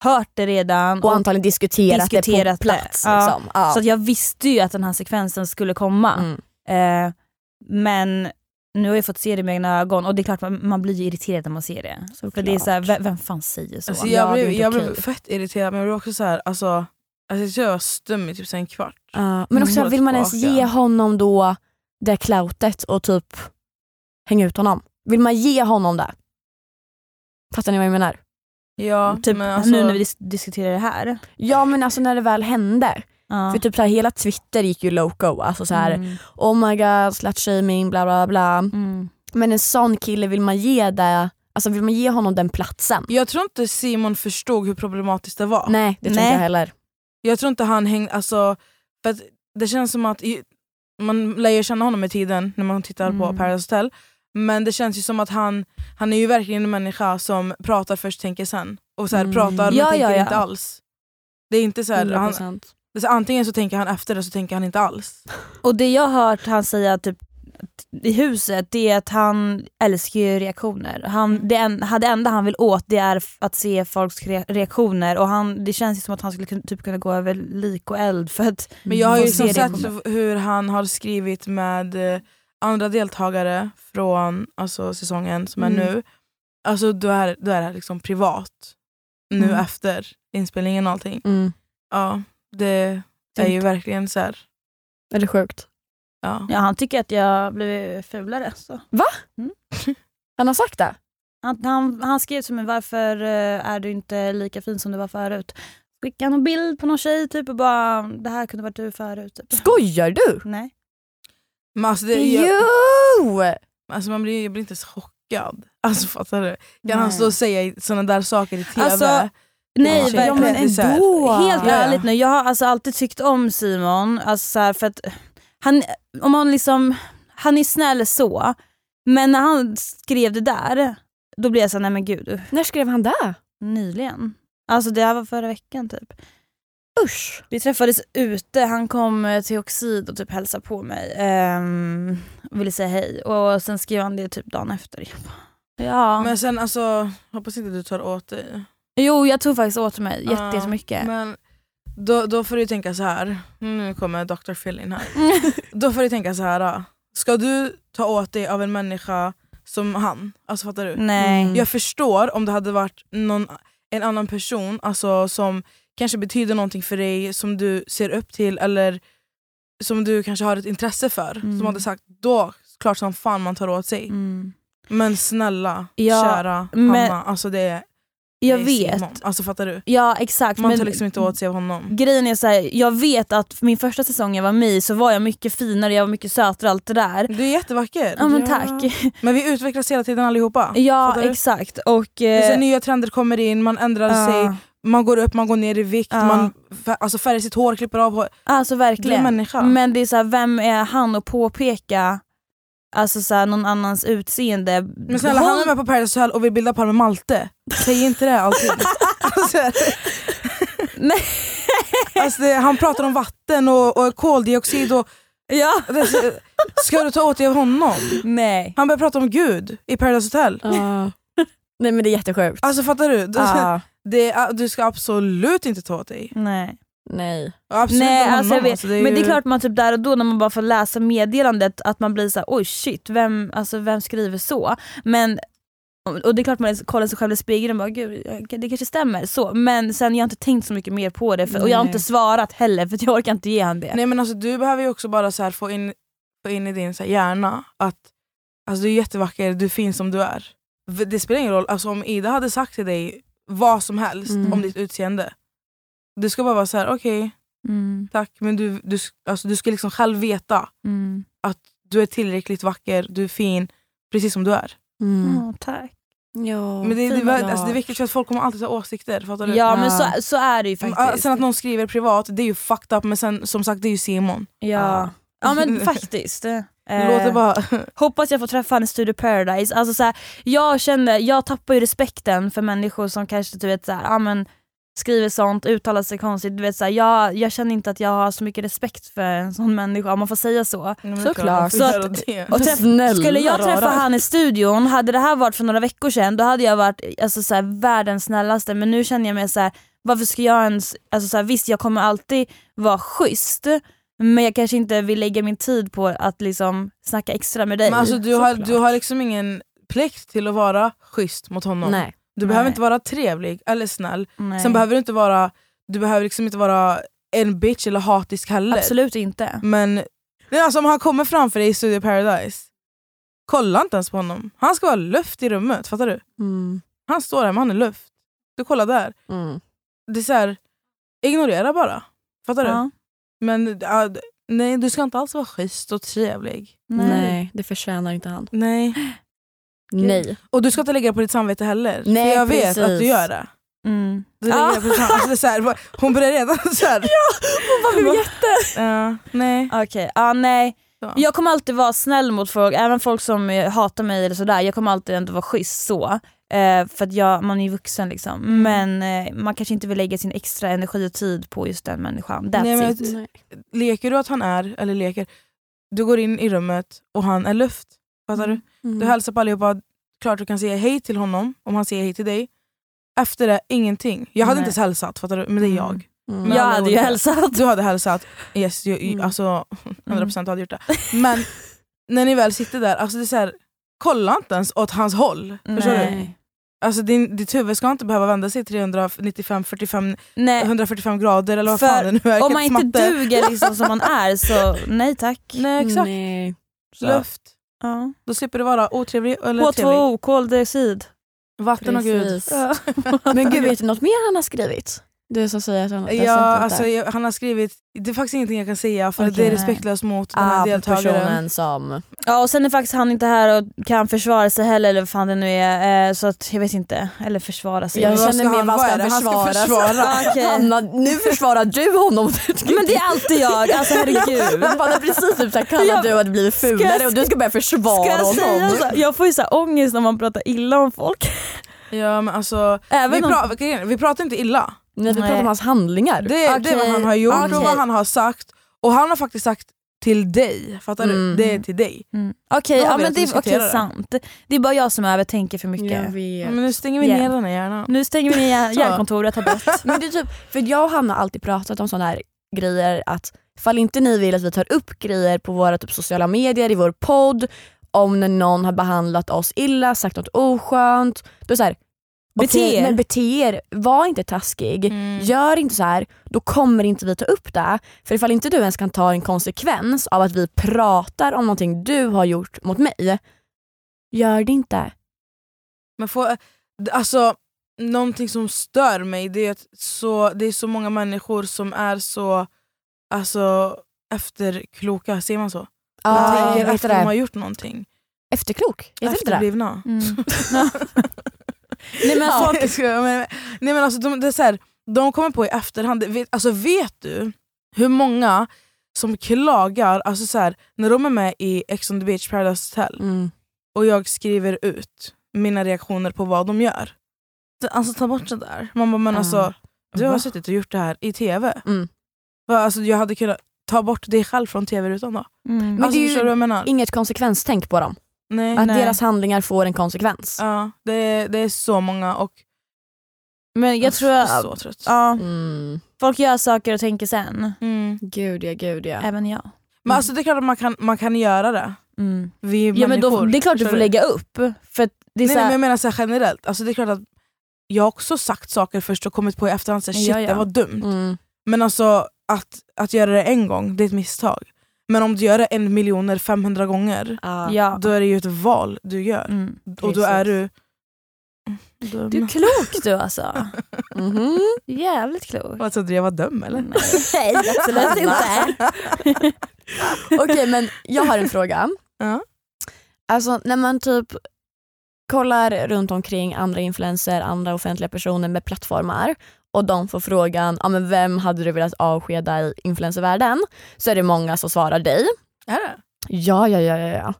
hört det redan. och antagligen diskuterat, det Diskuterat på det. plats. Ja. Liksom. Ja. Så att jag visste ju att den här sekvensen skulle komma. Mm. Eh, men nu har jag fått se det med egna ögon och det är klart man, man blir ju irriterad när man ser det. För det är så här, vem, vem fan säger så? Alltså, Ja, jag det är blev, inte jag blev okej. fett irriterad men jag blev också så här, alltså, alltså, jag tror jag var stum i typ så här en kvart. Ja, Men också Mm. vill man ens Tillbaka. ge honom då det cloutet och typ hänga ut honom? Vill man ge honom det? Fattar ni vad jag menar? Ja, Typ men alltså, nu när vi dis- diskuterar det här. Ja men alltså när det väl hände. Ja. För typ så här, hela Twitter gick ju loco. Alltså så här, Mm. oh my god, slutshaming, bla bla bla. Mm. Men en sån kille vill man ge det, alltså vill man ge honom den platsen? Jag tror inte Simon förstod hur problematiskt det var. Nej det tror Nej. inte jag heller. Jag tror inte han hängde... Alltså, för att det känns som att... i- Man lär ju känna honom med tiden när man tittar på Mm. Paradise Hotel. Men det känns ju som att han, han är ju verkligen en människa som pratar först, tänker sen. Och så här, Mm. pratar men Ja, tänker ja, ja. inte alls. Det är inte så här, han, 100%. alltså, antingen så tänker han efter det så tänker han inte alls. Och det jag har hört han säga typ, i huset det är att han älskar ju reaktioner. Han, det, en, ha- det enda han vill åt det är f- att se folks re- reaktioner och han, det känns ju som att han skulle kun- typ kunna gå över lik och eld för att Men jag har ju få se liksom sett reaktioner. hur han har skrivit med eh, andra deltagare från alltså, säsongen som är Mm. nu. Alltså då är, då är det här liksom privat. Nu Mm. efter inspelningen och allting. Mm. Ja, det är ju verkligen så här. Är det sjukt? Ja. Ja, han tycker att jag blev fulare. Så. Han har sagt det? Han, han, han skrev till mig varför eh, är du inte lika fin som du var förut? Skickade någon bild på någon tjej typ och bara det här kunde varit du förut. Typ. Skojar du? Nej. Men alltså, det, Jo! jag, Wow! Alltså man blir, jag blir inte så chockad. (laughs) Alltså fattar du? Kan han stå och säga sådana där saker i tv? Alltså, Ja, Nej, men verkligen. ändå. Helt Ja, ja. ärligt nu, jag har alltså alltid tyckt om Simon. Alltså så här, för att han, om han, liksom, han är snäll så, men när han skrev det där, då blev jag såhär, nej men gud, När skrev han det? nyligen. Alltså det här var förra veckan typ. Usch. Vi träffades ute, han kom eh, till Oxid och typ hälsade på mig. ehm, och ville säga hej och sen skrev han det typ dagen efter. Jag bara, Ja. Men sen alltså, hoppas inte du tar åt dig. jo jag tog faktiskt åt mig jätte- Ja, jättemycket. Men då, då får du tänka så här. nu kommer Dr. Phil in (laughs) här. Då får du tänka så här. ah. ska du ta åt dig av en människa som han? Alltså fattar du? Nej. Mm. Jag förstår om det hade varit någon, en annan person alltså, som kanske betyder någonting för dig, som du ser upp till eller som du kanske har ett intresse för. Mm. Som hade sagt, då klart som fan man tar åt sig. Mm. Men snälla, Ja, kära men- Hanna, alltså det är, Jag det är vet. Simon. Alltså fattar du? Ja exakt. Man men tar liksom inte åt sig av honom. Grejen är så här, jag vet att för min första säsong jag var med i så var jag mycket finare, jag var mycket sötare allt det där. Du är jättevacker. Ja men tack. Men vi utvecklas hela tiden allihopa. Ja Fattar du? exakt. Och, Det är så eh, nya trender kommer in, man ändrar ja. sig, man går upp, man går ner i vikt, Ja. man fär, alltså färgar sitt hår, klipper av hår. Alltså Du är verkligen. människa. Men det är så här, vem är han att påpeka alltså så här, någon annans utseende? Men snälla han är med på Paradise Hotel och vill bilda par med Malte. Säg inte det (laughs) alltid. alltså, Nej. alltså, det, han pratar om vatten och, och koldioxid och... Ja. Alltså, Ska du ta åt dig av honom? Nej. Han börjar prata om Gud i Paradise Hotel. Ja. (laughs) Nej men det är jättesjukt. Alltså fattar du? Du, Ah, det, är- du ska absolut inte ta åt dig. Nej. nej. Och Absolut Nej, inte honom. alltså jag vet. är Men det ju- är klart man typ där och då när man bara får läsa meddelandet att man blir så här, oj shit, vem, alltså, vem skriver så? Men, och det är klart man kollar sig själv i spegeln och bara gud jag- det kanske stämmer. Så, men sen jag har inte tänkt så mycket mer på det för, och jag har Nej. inte svarat heller för att jag orkar inte ge han det. Nej men alltså du behöver ju också bara så här få, in, få in i din så här hjärna att alltså, du är jättevacker, du finns som du är. V- Det spelar ingen roll, alltså, om Ida hade sagt till dig vad som helst Mm. om ditt utseende. Du ska bara vara så här: okej Mm, tack men du, du, s- alltså, du ska liksom själv veta mm. du är tillräckligt vacker, du är fin, precis som du är. Mm. Ja, tack. Ja. men det, det, fina det, alltså, det lag. är viktigt för att folk kommer alltid ha åsikter, fattar du? Ja men Ja. så, så är det ju Mm, faktiskt. Sen att någon skriver privat, det är ju fucked up men sen, som sagt det är ju Simon. Ja, ja men faktiskt. Eh, Låt det bara... Hoppas jag får träffa henne i Studio Paradise. Alltså, så här, jag känner, jag tappar ju respekten för människor som kanske du vet, så här, ah, men, skriver sånt, uttalar sig konstigt. Du vet, så här, jag, jag känner inte att jag har så mycket respekt för en sån människa om man får säga så. Såklart. Så att- Och träff- Snälla skulle jag träffa rara. han i studion, hade det här varit för några veckor sedan då hade jag varit alltså, så här, världens snällaste men nu känner jag mig så här, varför ska jag ens, alltså, så här, visst jag kommer alltid vara schysst men jag kanske inte vill lägga min tid på att liksom snacka extra med dig. Men alltså, du, har, du Såklart. har liksom ingen plikt till att vara schysst mot honom. Nej. Du behöver Nej. inte vara trevlig eller snäll. Nej. Sen behöver du inte vara du behöver liksom inte vara en bitch eller hatisk heller. Absolut inte. Men nej, alltså, om han kommer framför dig i Studio Paradise, kolla inte ens på honom. Han ska vara luft i rummet, fattar du? Mm. Han står där men han är luft. Du kollar där. Mm. Det är så här, ignorera bara. Fattar du? Ja. Men ja, d- nej, du ska inte alls vara schysst och trevlig. Nej. Nej, det förtjänar inte han. Nej. Nej. Och du ska inte lägga det på ditt samvete heller. Nej, för jag precis. vet att du gör det. (laughs) Mm. Du lägger det på ditt samvete. Alltså, det är så här, hon börjar redan så här. Vad Ja, nej. Okej, ah, nej. Så. Jag kommer alltid vara snäll mot folk, även folk som eh, hatar mig eller sådär. Jag kommer alltid ändå vara schysst så. Eh, för att jag, man är ju vuxen liksom. Mm. Men eh, man kanske inte vill lägga sin extra energi och tid på just den människan. That's Nej, men it. jag- leker du att han är, eller leker, du går in i rummet och han är luft. Fattar du? Mm. Du hälsar på allihopa, klart du kan säga hej till honom om han säger hej till dig. Efter det, ingenting. Jag hade inte Nej. ens hälsat, fattar du? Men det är jag. Mm. Men Jag alla hade ju olika. (laughs) hälsat. Du hade hälsat, yes, jag, Mm. alltså (laughs) 100% hade gjort det. Men när ni väl sitter där, alltså det är så här, kolla inte ens åt hans håll. Förstår du? Nej. Alltså din, ditt huvud ska inte behöva vända sig 395, 45, Nej. 145 grader eller vad För fan det nu är. Om man inte Kattmatte. duger liksom som man är så (laughs) nej tack. Nej exakt. Nej. Så. Luft. Ja. Då slipper du vara otrevlig eller trevlig. H2O, koldioxid. Vatten och gud. (laughs) Men gud, vet du något mer han har skrivit? Du som säger att han Ja, alltså, jag, han har skrivit, det är faktiskt ingenting jag kan säga för det är Okej. respektlöst mot den här ah, deltagaren. personen som... Ja och sen är faktiskt han inte här och kan försvara sig heller eller vad fan det nu är. Eh, så att jag vet inte. Eller försvara sig. Jag Men vad känner mer, vad ska är han det? försvara sig? (laughs) försvara. Ja, okej. Hanna, nu försvarar du (laughs) honom. Men det är alltid jag, alltså herregud. Han bara, precis typ såhär, kallar Jag- du att bli Ska fulare jag- och du ska börja Ska försvara jag säga honom. så? Jag får ju så här ångest när man pratar illa om folk. Ja, men alltså, vi, Även om... pra- grejen är, vi pratar inte illa. Nej, vi pratar Nej. om hans handlingar. Det, det är vad Okej, han har gjort och okej. vad han har sagt. Och han har faktiskt sagt till dig, fattar du? Mm. Det är till dig. Mm. Okej, Då har ja, vi men att det är diskutera okej, det. sant. Det är bara jag som övertänker för mycket. Ja, vet. Men nu stänger vi Yeah. ner den här hjärnan. Nu stänger vi (laughs) ner Så. hjärnkontoret, har bort. Men det är typ, för jag och Hanna har alltid pratat om sådana här grejer att ifall inte ni vill att vi tar upp grejer på våra typ, sociala medier, i vår podd, om när någon har behandlat oss illa, sagt något oskönt. Då är det såhär, Bete er. men bete er, var inte taskig. Mm. Gör inte så här, då kommer inte vi ta upp det. För ifall inte du ens kan ta en konsekvens av att vi pratar om någonting du har gjort mot mig, gör det inte. Men få, alltså, någonting som stör mig det är att så, det är så många människor som är så alltså, efterkloka, ser man så? Ja, De tänker jag vet efter det. de har gjort någonting. Efterklok, heter inte det? Efterblivna. Mm. Nej, men Ja, folk... jag skojar, men, nej men alltså, de, det är så här, de kommer på i efterhand, vet, alltså, vet du hur många som klagar alltså, så här, när de är med i Ex on the beach Paradise Hotel Mm. och jag skriver ut mina reaktioner på vad de gör. Så, Alltså ta bort det där. Man bara, men Ja. alltså, du har Va? suttit och gjort det här i tv. Mm. Va, alltså, jag hade kunnat ta bort dig själv från tv-rutan då. Mm. alltså, det är ju förstår du vad jag menar? Inget konsekvenstänk på dem. Nej. Att Nej. deras handlingar får en konsekvens. Ja, det, är, det är så många och Men jag Uff, tror... är Jag... så trött. Ja, Mm. folk gör saker och tänker sen. Mm. Gud ja, gud ja. Även jag. Men alltså, det är klart att man kan, man kan göra det. Mm. Vi är Ja, men då, människor. det är klart du Förstår får lägga upp. För att det nej, är så nej, men här, jag menar så här generellt, alltså, det är klart att jag har också sagt saker först och kommit på i efterhand så här, shit Ja, ja. det var dumt. Mm. Men alltså att, att göra det en gång, det är ett misstag. Men om du gör det en miljoner 500 gånger, Ja. ja. då är det ju ett val du gör. Mm. Och då precis. är du... Du är Dum. klok du alltså. (laughs) Mhm. Jävligt (laughs) klok. Vad trodde du jag var dum eller? Mm, Nej, alltså, absolut inte. (laughs) Okej men jag har en fråga. Ja. Alltså när man typ kollar runt omkring andra influenser, andra offentliga personer med plattformar och de får frågan ah, men vem hade du velat avskeda i influencervärlden? Så är det många som svarar dig. Är det? Ja, ja, ja. ja, ja.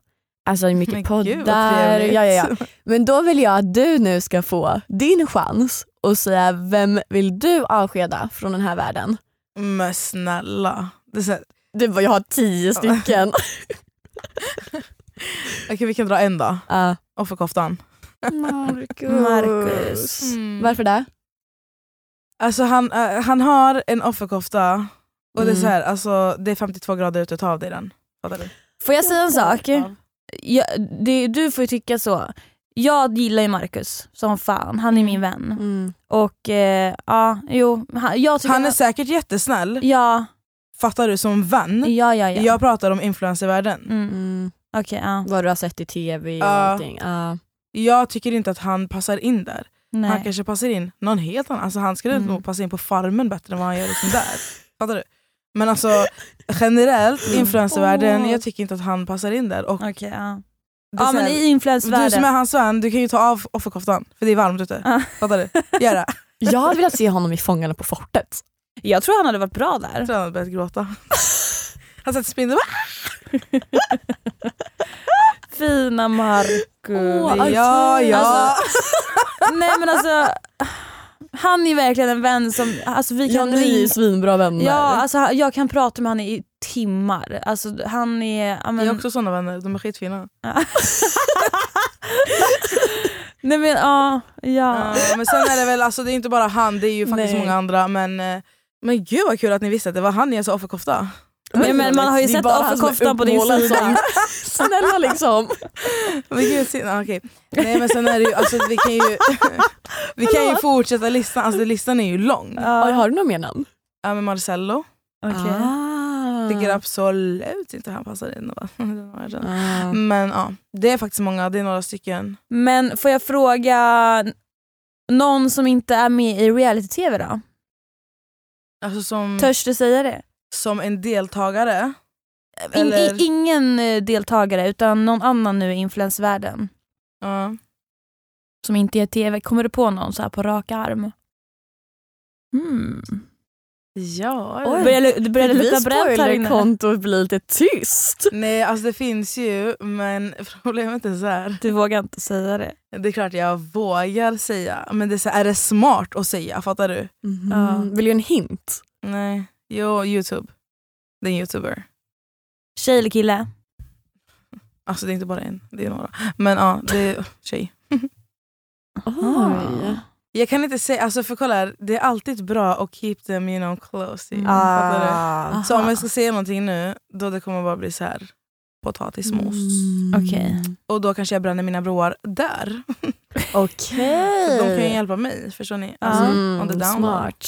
Alltså det är mycket Men gud, vad poddar. trevligt. Ja, ja, ja. Men då vill jag att du nu ska få din chans och säga vem vill du avskeda från den här världen? Men snälla. Det är så här, Du bara, jag har (laughs) tio stycken. okej, vi kan dra en då. Ja. Offerkoftan. Marcus. Marcus. Varför det? Alltså han, eh, han har en offerkofta och det är Mm. så här, alltså, det är 52 grader ute, ta av dig den. Fattar du? Får jag säga en (laughs) sak? Ja. Jag, det, du får ju tycka så. Jag gillar ju Marcus som fan, han är min Mm. vän. Och eh, ja, jo. Han, jag tycker Mm. Han är säkert jättesnäll, Ja, fattar du, som vän. ja, ja. ja. Mm. Jag Mm. pratar om influencervärlden. Mm. Okej, ja. Vad du har sett i tv Ja. och allting. Ja. Jag tycker inte att han passar in där. Han Nej. kanske passar in någon helt annan. Alltså, han skulle Mm. nog passa in på farmen bättre än vad han gör liksom där. Fattar du? Men alltså generellt Mm. i influencervärlden, Åh. jag tycker inte att han passar in där. Och det Okej, ja. är Ja så men här, i du som influensvärlden. är hans vän, du kan ju ta av offerkoftan för det är varmt ute. Ja. Fattar du? (laughs) Gör det. Jag hade velat se honom i Fångarna på fortet. Jag tror han hade varit bra Jag där. tror han hade börjat gråta. (laughs) Han satt i spindeln Fina Marcus. bara ja, ja. Alltså, nej men alltså, han är verkligen en vän som, alltså vi Ja, kan ni är ju svinbra vänner. Ja, alltså, han- jag kan prata med honom i timmar. Alltså, han är... ja, Jag men- har också såna vänner, de är skitfina. Nej men ja. (laughs) ja. Ja, men sen är det väl, alltså, det är inte bara han, det är ju faktiskt Nej. många andra. Men, eh, men gud vad kul att ni visste att det var han i alltså offerkofta. men, men man har ju Det är sett bara han som är offerkoftan på din uppmålad sida. som- (laughs) Snälla liksom. Men gud, synd. Ah, okej. Nej men sen är det ju, alltså, vi kan ju, (laughs) vi kan ju fortsätta listan, alltså listan är ju lång. Oj, Ja, har du något mer namn? Ja, men Marcello, okej. Ah. tycker absolut inte han passar in. (laughs) Och bara, den har jag redan. Ah. Men ja, det är faktiskt många, det är några stycken. Men Mm. får jag fråga någon som inte är med i reality-tv då? Alltså som, Törs du säga det? som en deltagare. In, i, Eller- ingen eh, deltagare utan någon annan nu i influensvärlden Ja. som inte är tv. Kommer du på någon så här på rak arm? Mm. ja Oj. Börjar lu- Det börjar Vi luta bränt här inne. spoilerkontot blir lite tyst. Nej alltså det finns ju men (laughs) problemet är så här. Du vågar inte säga det. Det är klart jag vågar säga men det är, så här, är det smart att säga? Fattar du? Mhm. Ja. Vill du en hint? Nej. Jo, Youtube. Det är en youtuber. Tjej eller kille? Alltså det är inte bara en, det är några. Men ja, det är tjej. (laughs) Oj. Jag kan inte säga, alltså för kolla här, det är alltid bra att keep them you know close. to you. Fattar du? Ah. Så om jag ska säga någonting nu, då det kommer bara bli så här potatismos. Mm. Okej. Och då kanske jag bränner mina broar där. Okej. De kan ju hjälpa mig, förstår ni? Alltså, Mm, on the down low. smart.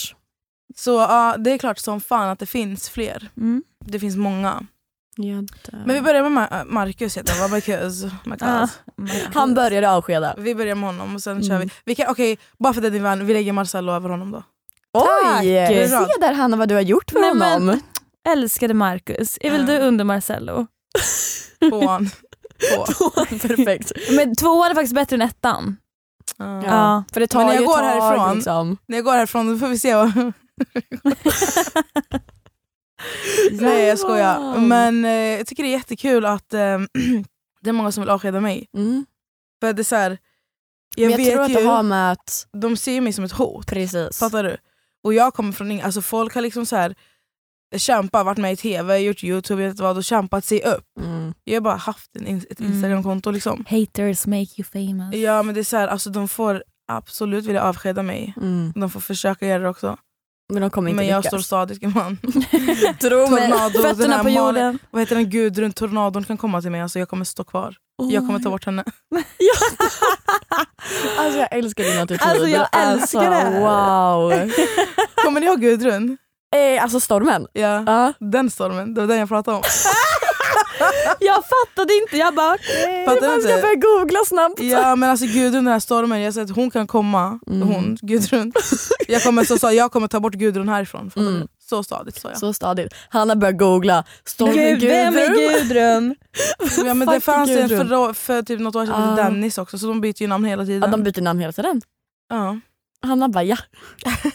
Så ja, det är klart som fan att det finns fler. Mm. Det finns många. Ja, Men vi börjar med Ma- äh, Marcus heter han, va? Marcus. Ah. Marcus. Han började avskeda. Vi börjar med honom och sen kör Mm. vi. vi kan, Okej, bara för att det är din vän, vi lägger Marcello över honom då. Oj! Bra. Se där Hanna vad du har gjort för Nej, men- honom. Älskade Marcus. Är väl Ja. du under Marcello? På han. På. (laughs) Perfekt. Men tvåan är faktiskt bättre än ettan. Ja. Ja. För det tar Men när jag ju går ett tag, härifrån- Liksom. När jag går härifrån då får vi se (laughs) vad... Nej jag skojar. Men eh, jag tycker det är jättekul att eh, (clears throat) det är många som vill avskeda mig. Mm. För det är så här, jag, Men jag vet tror att ju, det har med att... de ser ju mig som ett hot. Precis. Fattar du? Och jag kommer från ingen, alltså folk har liksom så här kämpat, varit med i tv, gjort youtube, vet vad, och kämpat sig upp. Mm. Jag har bara haft en, in- ett Mm. instagramkonto liksom. Haters make you famous. Ja men det är så här, alltså de får absolut vilja avskeda mig. Mm. De får försöka göra det också. Men de kommer inte Men jag står lyckas. stadigt gumman. (laughs) Tro Tornado, den Fötterna här på Malin- jorden. vad heter den (laughs) gudrun tornadon kan komma till mig, alltså jag kommer stå kvar. Jag kommer (laughs) ta bort henne. (laughs) Alltså jag älskar din attityd. Alltså, jag älskar det här. Wow. Kommer ni ihåg gudrun? eh, alltså stormen. Ja. Ja. Den stormen, det var den jag pratade om. Jag fattade inte, jag bara Fattar du Man ska inte? börja googla snabbt. Ja men alltså gudrun den här stormen, jag säger att hon kan komma, Mm. hon, (laughs) gudrun. Jag kommer, så, sa jag, jag kommer ta bort gudrun härifrån. Fattar Mm. du? Så stadigt sa jag. Så stadigt. Hanna börjar googla. Stormen Gud, vem är Gudrun. Gudrun? ja, men det fucking fanns ju en Gudrun. för, för typ något år sedan, Ah. ah. Dennis också, så de byter ju namn hela Ja, tiden. de byter namn hela tiden. Ja. Hanna bara ja.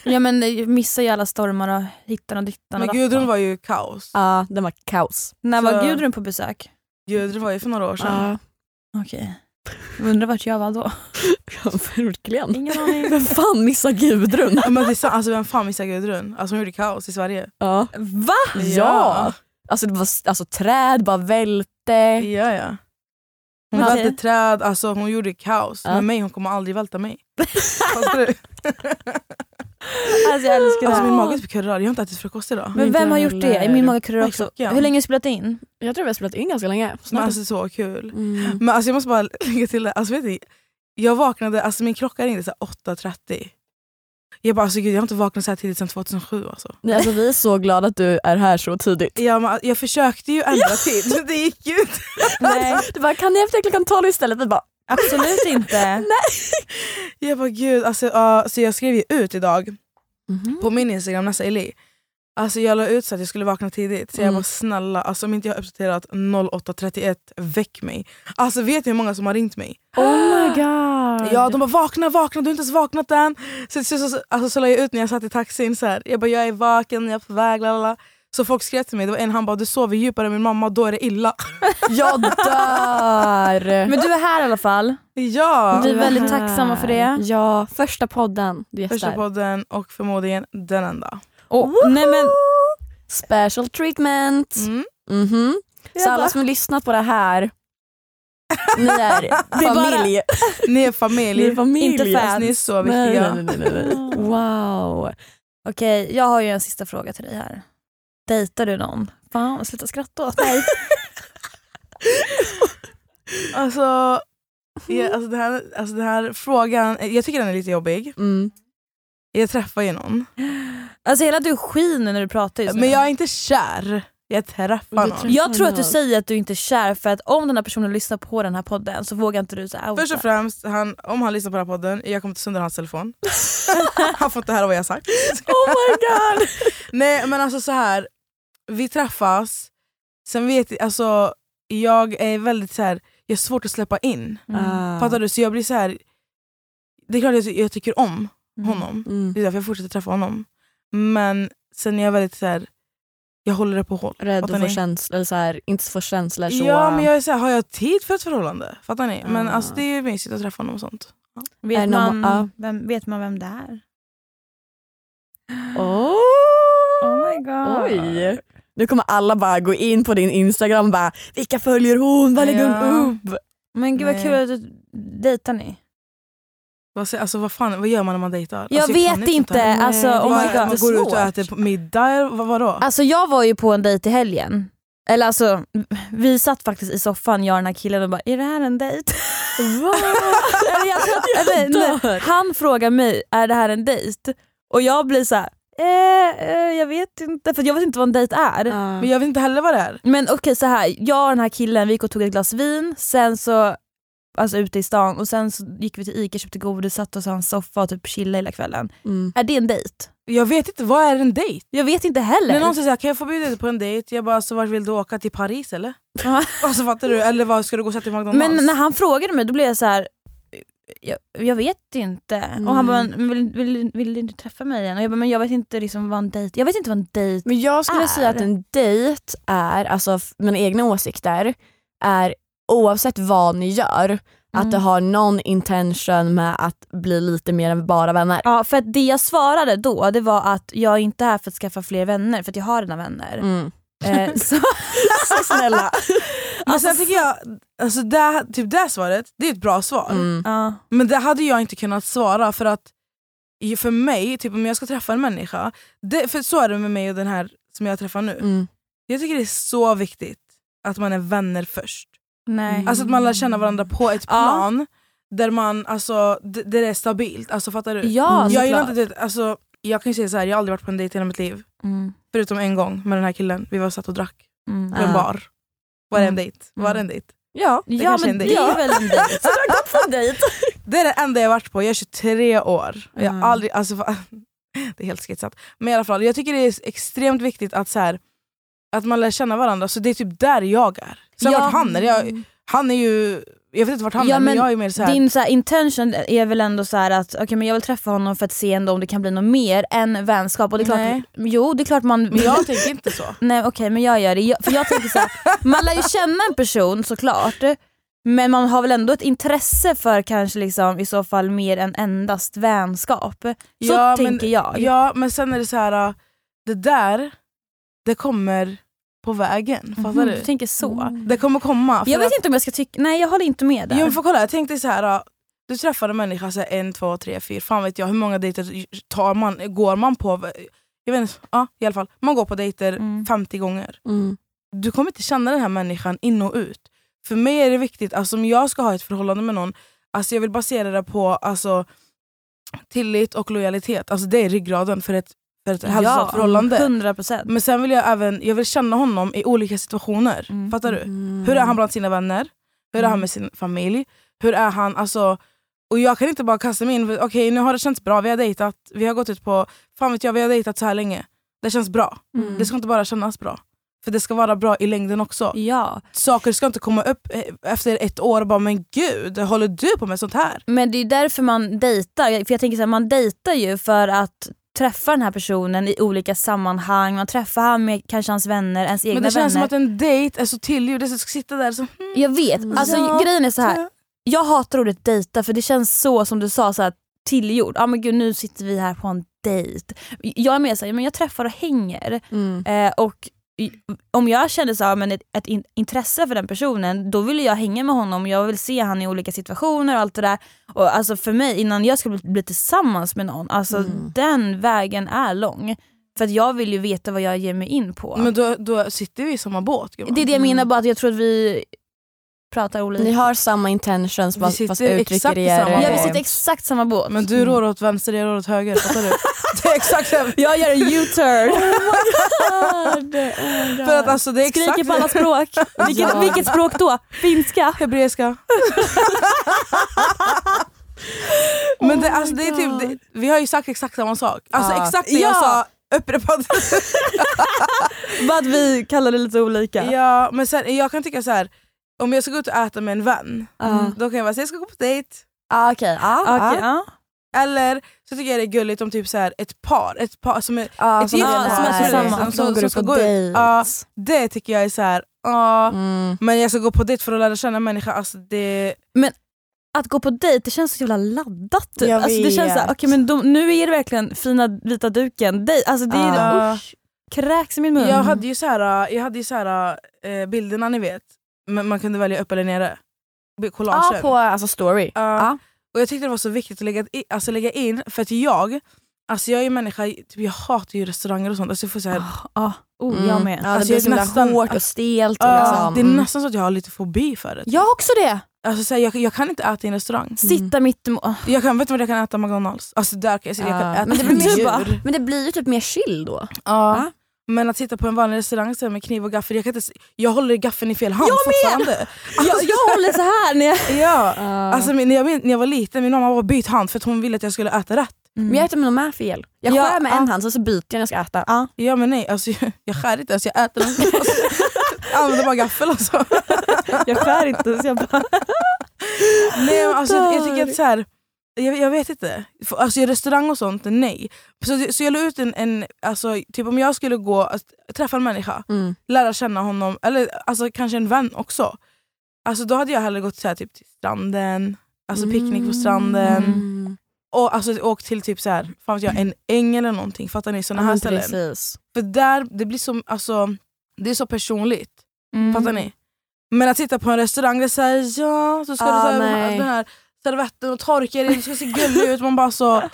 Ja men jag missar ju alla stormar och hittan och dittan. Men och gudrun dattan. var ju kaos. Ja, den var kaos. När var så- Gudrun på besök? Gudrun var ju för några år sedan. Okej. Undrar vart jag var då. Ja, (laughs) verkligen. Ingen aning. Vem fan missar Gudrun? Ja, Men det är sant, alltså, vem fan missar Gudrun? Alltså, hon gjorde kaos i Sverige. Ja. Va? Ja. Alltså, det var, alltså träd bara Ja, välte. ja. ja. Hon Okej. välte träd, alltså, hon gjorde kaos. Ja. Med mig, hon kommer aldrig välta mig. Fattar du? (laughs) Alltså jag älskar det alltså, här. min mage typ kurrar, jag har inte ätit frukost idag. Men Inte vem har jag gjort det? heller. Min mage kurrar Vad är också. klockan? Hur länge har du spelat in? Jag tror vi har spelat in ganska länge. Men, Snart. alltså så kul. Mm. Men alltså, jag måste bara (laughs) lägga till det. Alltså, vet ni, jag vaknade, alltså, min klocka ringde så här 8.30. Jag bara alltså, gud, jag har inte vaknat så här tidigt sedan 2007 alltså. Nej, alltså, vi är så glada att du är här så tidigt. Jag, men, alltså, jag försökte ju ändra tid, men (laughs) det gick ju inte. Nej, (laughs) Du bara, kan ni efter klockan 12 istället? Vi bara, absolut (laughs) inte. Jag bara gud, alltså, ja, så jag skrev ju ut idag Mhm. på min instagram, Nessa Eli. Alltså jag la ut så att jag skulle vakna tidigt, så jag Mm. bara snälla, alltså, om inte jag har uppdaterat 08.31, väck mig. Alltså vet ni hur många som har ringt mig? oh my god. Ja, de bara vakna, vakna, du har inte ens vaknat än. Så, så, så, alltså, så la jag ut när jag satt i taxin, så här. jag bara jag är vaken, jag är på väg, lalala. Så folk skrev till mig, det var en han bara du sover djupare än min mamma, då är det illa. (laughs) Jag (laughs) dör. Men du är här i alla fall. ja! Vi är väldigt tacksamma för det. Ja, första podden du gästar. Första podden och förmodligen den enda. Och, nej, men, Special treatment. Mm. Mhm. Så alla som har lyssnat på det (laughs) här, ni är familj. Ni är familj, Ni är familj. Inte fans. Ni är så viktiga. Nej, nej, nej, nej, nej. (laughs) Wow. Okej, jag har ju en sista fråga till dig (laughs) här. Dejtar du någon? Fan, sluta skratta åt mig. Alltså, ja, alltså, det här, alltså den här frågan, jag tycker den är lite jobbig. Mm. Jag träffar ju någon. Alltså hela du skiner när du pratar just nu. Men jag är inte kär. Jag träffar Du någon. träffar- Jag tror att du Mm. Fan. säger att du inte är kär för att om den här personen lyssnar på den här podden så vågar inte du så här outa. Först och främst, han, om han lyssnar på den här podden, jag kommer ta sönder hans (laughs) telefon. han får inte höra vad jag har sagt. (laughs) Oh my god! Nej men alltså så här vi träffas, sen vet jag, alltså, jag är väldigt så här, jag har svårt att släppa in. Mm. Ah. Fattar du? Så jag blir så här. det är klart jag, jag tycker om Mm. honom, Mm. det är därför jag fortsätter träffa honom. Men sen är jag väldigt så här. jag håller det på håll. Rädd Fattar att få ni? känslor, eller så här, inte få känslor så... Ja men jag är så här, har jag tid för ett förhållande? Fattar ni? Men Mm. Ah. alltså, det är mysigt att träffa honom och sånt. Är Vet det någon- ah. ja. man, vem, vet man vem det är? Åh! Oh my god. Oj! Nu kommer alla bara gå in på din instagram och bara “vilka följer hon? Vad lägger Ja. hon upp?” Men gud vad Nej. Alltså, kul att du dejtar ni. Vad, säger- alltså, vad, fan, vad gör man när man dejtar? Jag alltså, kan vet inte, här. alltså Vad- oh my Man god. går ut och äter på middag, eller vad, vadå? Alltså jag var ju på en dejt i helgen. Eller alltså, vi satt faktiskt i soffan jag och den här killen och bara “är det här en dejt?” (laughs) Eller jag, eller, nej, Han frågar mig “är det här en dejt?” och jag blir så här, eh, eh, “jag vet inte” för jag vet inte vad en dejt är. Ah. Men jag vet inte heller vad det är. Men okej så här, jag och den här killen vi gick och tog ett glas vin, sen så Alltså ute i stan och sen så gick vi till Ica, köpte godis, satt oss i hans soffa och typ chillade hela kvällen. Mm. Är det en dejt? Jag vet inte, vad är en dejt? Jag vet inte heller. När någon säger såhär, kan jag få bjuda dig på en dejt? Jag bara, så vart vill du åka? Till Paris eller? Ja. (laughs) alltså fattar du? Eller vad, ska du gå och sätta dig i McDonalds? Men när han frågade mig då blev jag så här. Jag, jag vet inte. Och Mm. han bara, "Men vill, vill, vill du inte träffa mig igen? Och jag bara, men jag vet inte liksom vad en dejt Jag vet inte vad en dejt Men jag skulle Är. säga att en dejt är, alltså f- mina egna åsikter, är oavsett vad ni gör, Mm. att det har någon intention med att bli lite mer än bara vänner. Ja för att det jag svarade då det var att jag är inte här för att skaffa fler vänner för att jag har redan vänner. Mm. (laughs) Eh, så, Så snälla. Men sen tycker jag, alltså det, här- typ det här svaret, det är ett bra svar. Mm. ja. Men det hade jag inte kunnat svara för att ju- för mig, typ om jag ska träffa en människa, det, för så är det med mig och den här som jag träffar nu. Mm. Jag tycker det är så viktigt att man är vänner först. Nej. Alltså att man lär känna varandra på ett Mm. Ja. plan där man alltså, d- där det är stabilt. Alltså fattar du? Ja jag såklart. gillar inte det. Alltså, jag kan ju säga så här, jag har aldrig varit på en dejt i hela mitt liv. Mm, Förutom en gång med den här killen, vi var och satt och drack mm. på en bar. Var det en Mm. dejt? Var det en dejt? Ja. det ja kanske är men en det dejt. är väl (laughs) en dejt. Det är det enda jag har varit på, jag är 23 år. Jag har Mm. aldrig, alltså, fa- (laughs) det är helt skitsat. Men i alla fall, jag tycker det är extremt viktigt att, så här, att man lär känna varandra, så det är typ där jag är. Sen Ja. mm. vart han är, jag, han är ju, jag vet inte vart han Ja, är men men jag är mer så här, Din så här, intention är väl ändå så här att okej, men jag vill träffa honom för att se ändå om det kan bli något mer än vänskap. Och det är klart, Nej. Jo, det är klart man... men jag tänker inte så. (laughs) Nej okej men jag gör det. Jag, för jag tänker så här, man lär ju känna en person såklart men man har väl ändå ett intresse för kanske liksom i så fall mer än endast vänskap. Så Ja, men- tänker jag. Ja men sen är det så här, äh, det där, det kommer på vägen. Fattar Mhm, du? du tänker så. Det kommer komma. för Jag vet att- inte om jag ska tycka, nej jag håller inte med där. Jo, men för kolla, jag tänkte så här. äh, Du träffar en människa, så här, en, två, tre, fyra, fan vet jag hur många dejter tar man, går man på? Jag vet inte, ja, i alla fall. Man går på dejter Mm. 50 gånger. Mm. Du kommer inte känna den här människan in och ut. För mig är det viktigt, alltså, om jag ska ha ett förhållande med någon, alltså, jag vill basera det på alltså, tillit och lojalitet. Alltså, det är ryggraden för ett, för ett hälsosamt förhållande. 100%. Men sen vill jag även jag vill känna honom i olika situationer. Mm. Fattar du? Mm. Hur är han bland sina vänner? Hur är han med sin familj? Hur är han? Alltså, och jag kan inte bara kasta mig in. för Okej, nu har det känts bra. Vi har dejtat. Vi har gått ut på... Fan vet jag, vi har dejtat så här länge. Det känns bra. Mm. Det ska inte bara kännas bra. För det ska vara bra i längden också. Ja. Saker ska inte komma upp eh, efter ett år och bara “men gud, håller du på med sånt här?” Men det är ju därför man dejtar. För jag tänker så här, man dejtar ju för att träffa den här personen i olika sammanhang. Man träffar han med kanske hans vänner, ens egna Men det vänner. känns som att en dejt är så tillgjord. Det ska sitta där så... Mm. Jag vet, alltså Ja. grejen är så här. Jag hatar ordet dejta för det känns så som du sa, så här, tillgjord. Ah, men gud, nu sitter vi här på en dejt. Jag är mer såhär, men jag träffar och hänger. Mm. Eh, och i- om jag känner så här, men ett, ett in, intresse för den personen, då vill jag hänga med honom. Jag vill se han i olika situationer och allt det där. Och alltså för mig, innan jag skulle bli, bli tillsammans med någon, alltså den vägen är lång. För att jag vill ju veta vad jag ger mig in på. Men då, då sitter vi i samma båt gumman. Det är det jag menar, bara att jag tror att vi pratar olika. Ni har samma intentions Vi fast, fast sitter uttrycker exakt i er... samma ja, vi båt. sitter i exakt samma båt. (laughs) Men du rår åt vänster, jag rår åt höger. Fattar du? det är exakt det. Jag gör en (laughs) U-turn. För att alltså, det är Skriker exakt på alla språk. Vilket, Ja. vilket språk då? Finska? hebreiska. Men det, alltså, det är typ, det, vi har ju sagt exakt samma sak. Alltså Ja. exakt det jag Ja. sa upprepade Bara att vi kallar det lite olika. Ja, men sen, jag kan tycka så här. om jag ska gå ut och äta med en vän, Ja. då kan jag bara säga jag ska gå på dejt. Ah, Okej, ah, Okej, ah, ja. Eller så tycker jag det är gulligt om typ så här, ett par, ett par som är, ah, ett gift är- par som är liksom, tillsammans, som som, går som ut ska på gå ut. dejt. Ja, det tycker jag är så här. ja, Mm. men jag ska gå på dejt för att lära känna en människa. Alltså, det, Att gå på dejt det känns så jävla laddat. Typ. Jag Alltså, det känns så här, vet. okej, men de, nu är det verkligen fina vita duken. Dej, alltså, det är, Ja. usch, kräks i min mun. jag hade ju så här, jag hade ju så här eh, bilderna ni vet, men man kunde välja upp eller nere. Collagen. Ah, på alltså, story. Ja. Ja. Och jag tyckte det var så viktigt att lägga, i, alltså lägga in, för att jag Alltså jag är ju människa, typ jag hatar ju restauranger och sånt. Alltså jag får så här, Ah, ah. Oh, jag med. Mm. Ja, det Alltså, blir jag så himla nästan- hårt och stelt. och ah, liksom. det Mm. är nästan så att jag har lite fobi för det. Jag har också det. Alltså så här, jag, jag kan inte äta i en restaurang. Sitta mitt emot. ah. Jag kan, vet du vad jag kan äta? McDonalds. Alltså där kan jag, jag kan Ja, äta Ah. men det med blir mer- Ah. djur. Men det blir ju typ mer chill då. Ja. Men att sitta på en vanlig restaurang så här med kniv och gaffel, jag, kan inte, se- jag håller gaffeln i fel hand fortfarande. Jag, jag håller så här när jag... Ja. Ah. Alltså, men när, jag, min- när jag var liten, min mamma var byt hand för att hon ville att jag skulle äta rätt. Men jag äter med med fel. Jag Ja, skär med en ah. hand så, så byter jag när jag ska äta. Ja men nej, alltså, jag, jag skär inte ens, jag äter den. Alltså, jag använder bara gaffel alltså. Jag skär inte så jag bara... Nej, men alltså, jag, jag tycker att så här, jag, jag vet inte. För, alltså, i restaurang och sånt, nej. Så, så jag la ut en, en alltså, typ om jag skulle gå att träffa en människa, Mm. lära känna honom, eller alltså, kanske en vän också. Alltså, då hade jag hellre gått så här, typ, till stranden, alltså Mm. picknick på stranden. Och alltså, åkt till typ så här, fan vet jag, en äng eller någonting. Fattar ni? Såna Ja, här men ställen. precis. För där, det blir så, alltså, det är så personligt. (laughs) Mm. Fattar ni? Men att sitta på en restaurang där säger ja, så ska Ah, du ta nej. den här servetten och torka dig, du ska se gullig ut. Man bara så...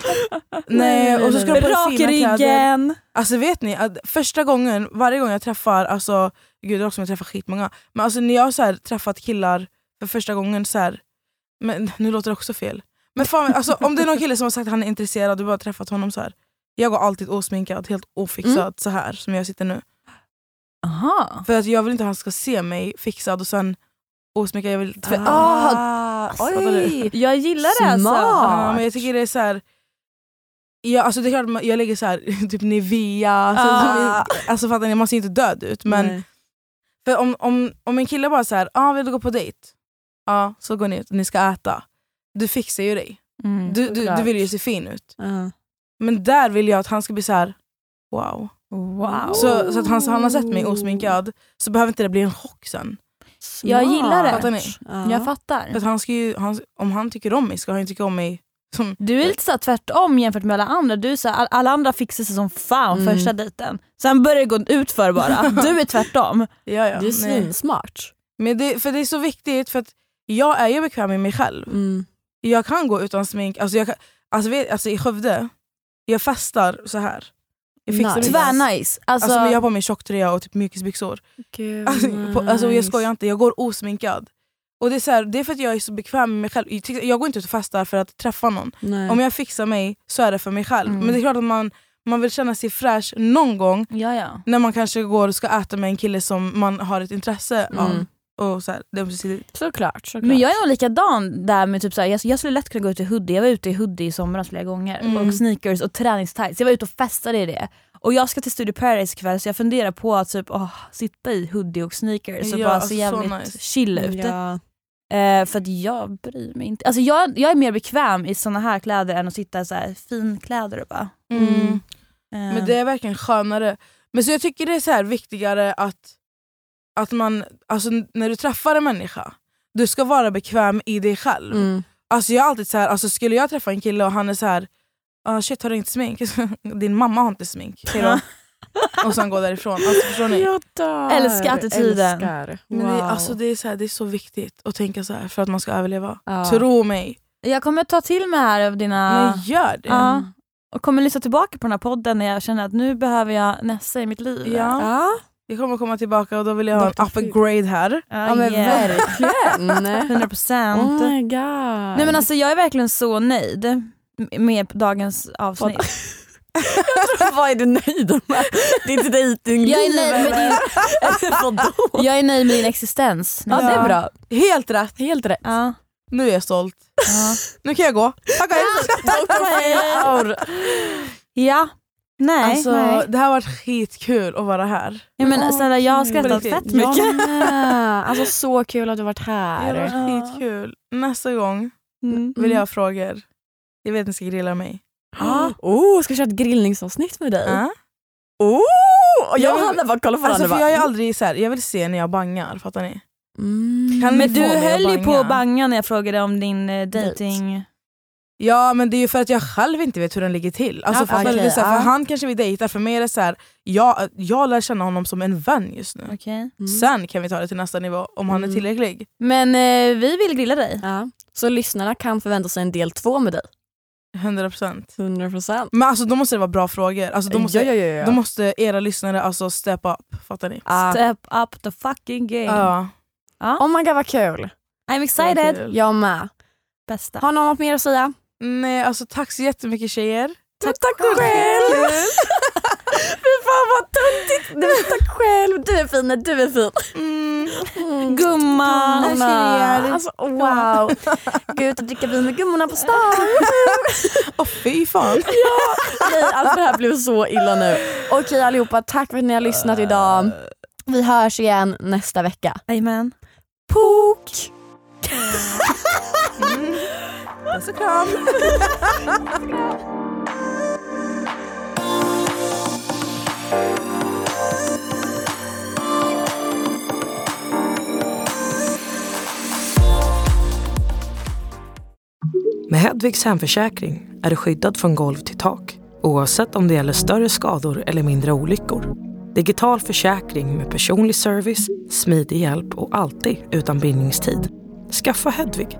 Nej, och så ska du Men på dig Rak i fina kläder. ryggen. Alltså vet ni, att första gången, varje gång jag träffar, alltså, gud det är också om jag träffar skitmånga, men alltså när jag har så här, träffat killar för första gången så här, men nu låter det också fel. Men fan, alltså, om det är någon kille som har sagt att han är intresserad och du bara har träffat honom så här. Jag går alltid osminkad, helt ofixad så här som jag sitter nu. Aha. För att jag vill inte att han ska se mig fixad och sen osminkad. Jag vill tvä- Ah, Fattar du? oj. Jag gillar det alltså. Smart. Ja, men jag tycker det är så här. Ja, alltså det är klart man- jag lägger så här, (laughs) typ Nivea, så, Ah. alltså fattar ni, man ser ju inte död ut. Men för om, om, om en kille bara så här, ah, vill du gå på dejt? Ja, så går ni ut och ni ska äta. Du fixar ju dig. Mm. Du, du, du såklart. vill ju se fin ut. Men där vill jag att han ska bli så här, wow. Wow. Så, så att han, han har sett Oh. mig osminkad så behöver inte det bli en chock sen. Jag gillar det. Fattar ni? Jag För fattar. att han ska ju, han, om han tycker om mig ska han ju tycka om mig som... Du är lite så här tvärtom jämfört med alla andra. Du är så här, all- alla andra fixar sig som fan Mm. första dejten. Sen börjar det gå ut för bara. Du (laughs) är tvärtom. Ja, ja, Du är nej. svinsmart. Men det, för det är så viktigt för att jag är ju bekväm med mig själv. Mm. Jag kan gå utan smink. Alltså, jag kan, alltså, vet, alltså i Skövde, jag festar så här. Jag fixar Nice. mig. Tvärnice. Alltså, Alltså, men jag har på mig tjocktröja och typ mjukisbyxor. Alltså, på, alltså, jag skojar inte, jag går osminkad. Och det är, så här, det är för att jag är så bekväm med mig själv. Jag tycker- Jag går inte ut och festar för att träffa någon. Om jag fixar mig så är det för mig själv. Mm. Men det är klart att man, man vill känna sig fräsch någon gång ja, ja. när man kanske går och ska äta med en kille som man har ett intresse av. Mm. Och så här, det är precis- Såklart. såklart. Men jag är nog likadan där med typ såhär, jag, jag skulle lätt kunna gå ut i hoodie, jag var ute i hoodie i somras flera gånger. Mm. Och sneakers och träningstights, jag var ute och festade i det. Och jag ska till Studio Paradise ikväll så jag funderar på att typ, åh, sitta i hoodie och sneakers och Ja, bara alltså, se så jävligt nice. chill ut. Eh, för att jag bryr mig inte. Alltså jag, jag är mer bekväm i såna här kläder än att sitta i så här finkläder och bara... Mm. eh, Men det är verkligen skönare. Men så jag tycker det är så här viktigare att, att man, alltså n- när du träffar en människa, du ska vara bekväm i dig själv. Mm. Alltså jag är alltid så här, alltså skulle jag träffa en kille och han är så här, ah shit har du inte smink? (laughs) Din mamma har inte smink. Hej (laughs) då. och sen gå därifrån. Alltså, förstår ni? Jag dör. Älskar attityden. Älskar. Men det, Wow. alltså det, är så här, det är så viktigt att tänka så här för att man ska överleva. Ja. Tro mig. Jag kommer ta till mig här av dina... Men gör det. Ja. Och kommer lyssna tillbaka på den här podden när jag känner att nu behöver jag Nessa i mitt liv. Ja. Ja. Jag kommer komma tillbaka och då vill jag ha en Dr. Phil. upgrade här. Ja men (laughs) verkligen. 100 procent. Oh my god. Nej men alltså jag är verkligen så nöjd m- med dagens avsnitt. alltså, (laughs) vad är du nöjd med? Ditt dejtingliv? Jag är nöjd med din, (laughs) Vadå? jag är nöjd med din existens. Ja, det är bra. Helt rätt! Helt rätt. Ja. Nu är jag stolt. Ja. Nu kan jag gå. Tack och hej. ja. Nej. Alltså, Nej. det här har varit skitkul att vara här. Ja, men snälla jag har skrattat Riktigt. fett mycket. Ja. Jag med. (laughs) Alltså så kul att du varit Det har här. varit skitkul. Nästa gång Mm. vill jag ha frågor. Jag vet att ni ska grilla mig. Ja. (gasps) Oh, ska vi köra ett grillningsavsnitt med dig? Ja. Oh, och jag Jag och vill- Hanna bara kollar på varandra. Alltså, för bara, jag, är aldrig så här, jag vill se när jag bangar, fattar ni? mm. Kan Men ni du få mig att höll ju på banga? att banga när jag frågade om din eh, dating... Ja men det är ju för att jag själv inte vet hur den ligger till. Alltså, Ja, fattar ni? okej, Det är så här, ja. för han kanske vi dejtar, för mig är det så här, jag, jag lär känna honom som en vän just nu. Okej. Sen kan vi ta det till nästa nivå om han är Mm. tillräcklig. Men eh, vi vill grilla dig. Ja. Så lyssnarna kan förvänta sig en del två med dig. 100%. 100 procent. Men alltså då måste det vara bra frågor. Alltså, då, måste, ja, ja. då måste era lyssnare alltså step up, fattar ni? Ah. Step up the fucking game. Ja. Oh my god vad kul. I'm excited. Ah. Kul. Jag med. Bästa. Har någon något mer att säga? Nej alltså tack så jättemycket tjejer. Tack, tack själv! (laughs) Fy fan vad töntigt! Nej, men Tack själv! Du är fin, du är fin. Mm. Mm. Gumman. Gummorna. Alltså, wow! Gå ut och dricka vin med gummorna på (laughs) stan. Åh fy fan. Nej, alltså det här blev så illa nu. Okej allihopa, tack för att ni har lyssnat idag. Vi hörs igen nästa vecka. Amen. Pok! Puss och kram. Med Hedvigs hemförsäkring är du skyddad från golv till tak oavsett om det gäller större skador eller mindre olyckor. Digital försäkring med personlig service, smidig hjälp och alltid utan bindningstid. Skaffa Hedvig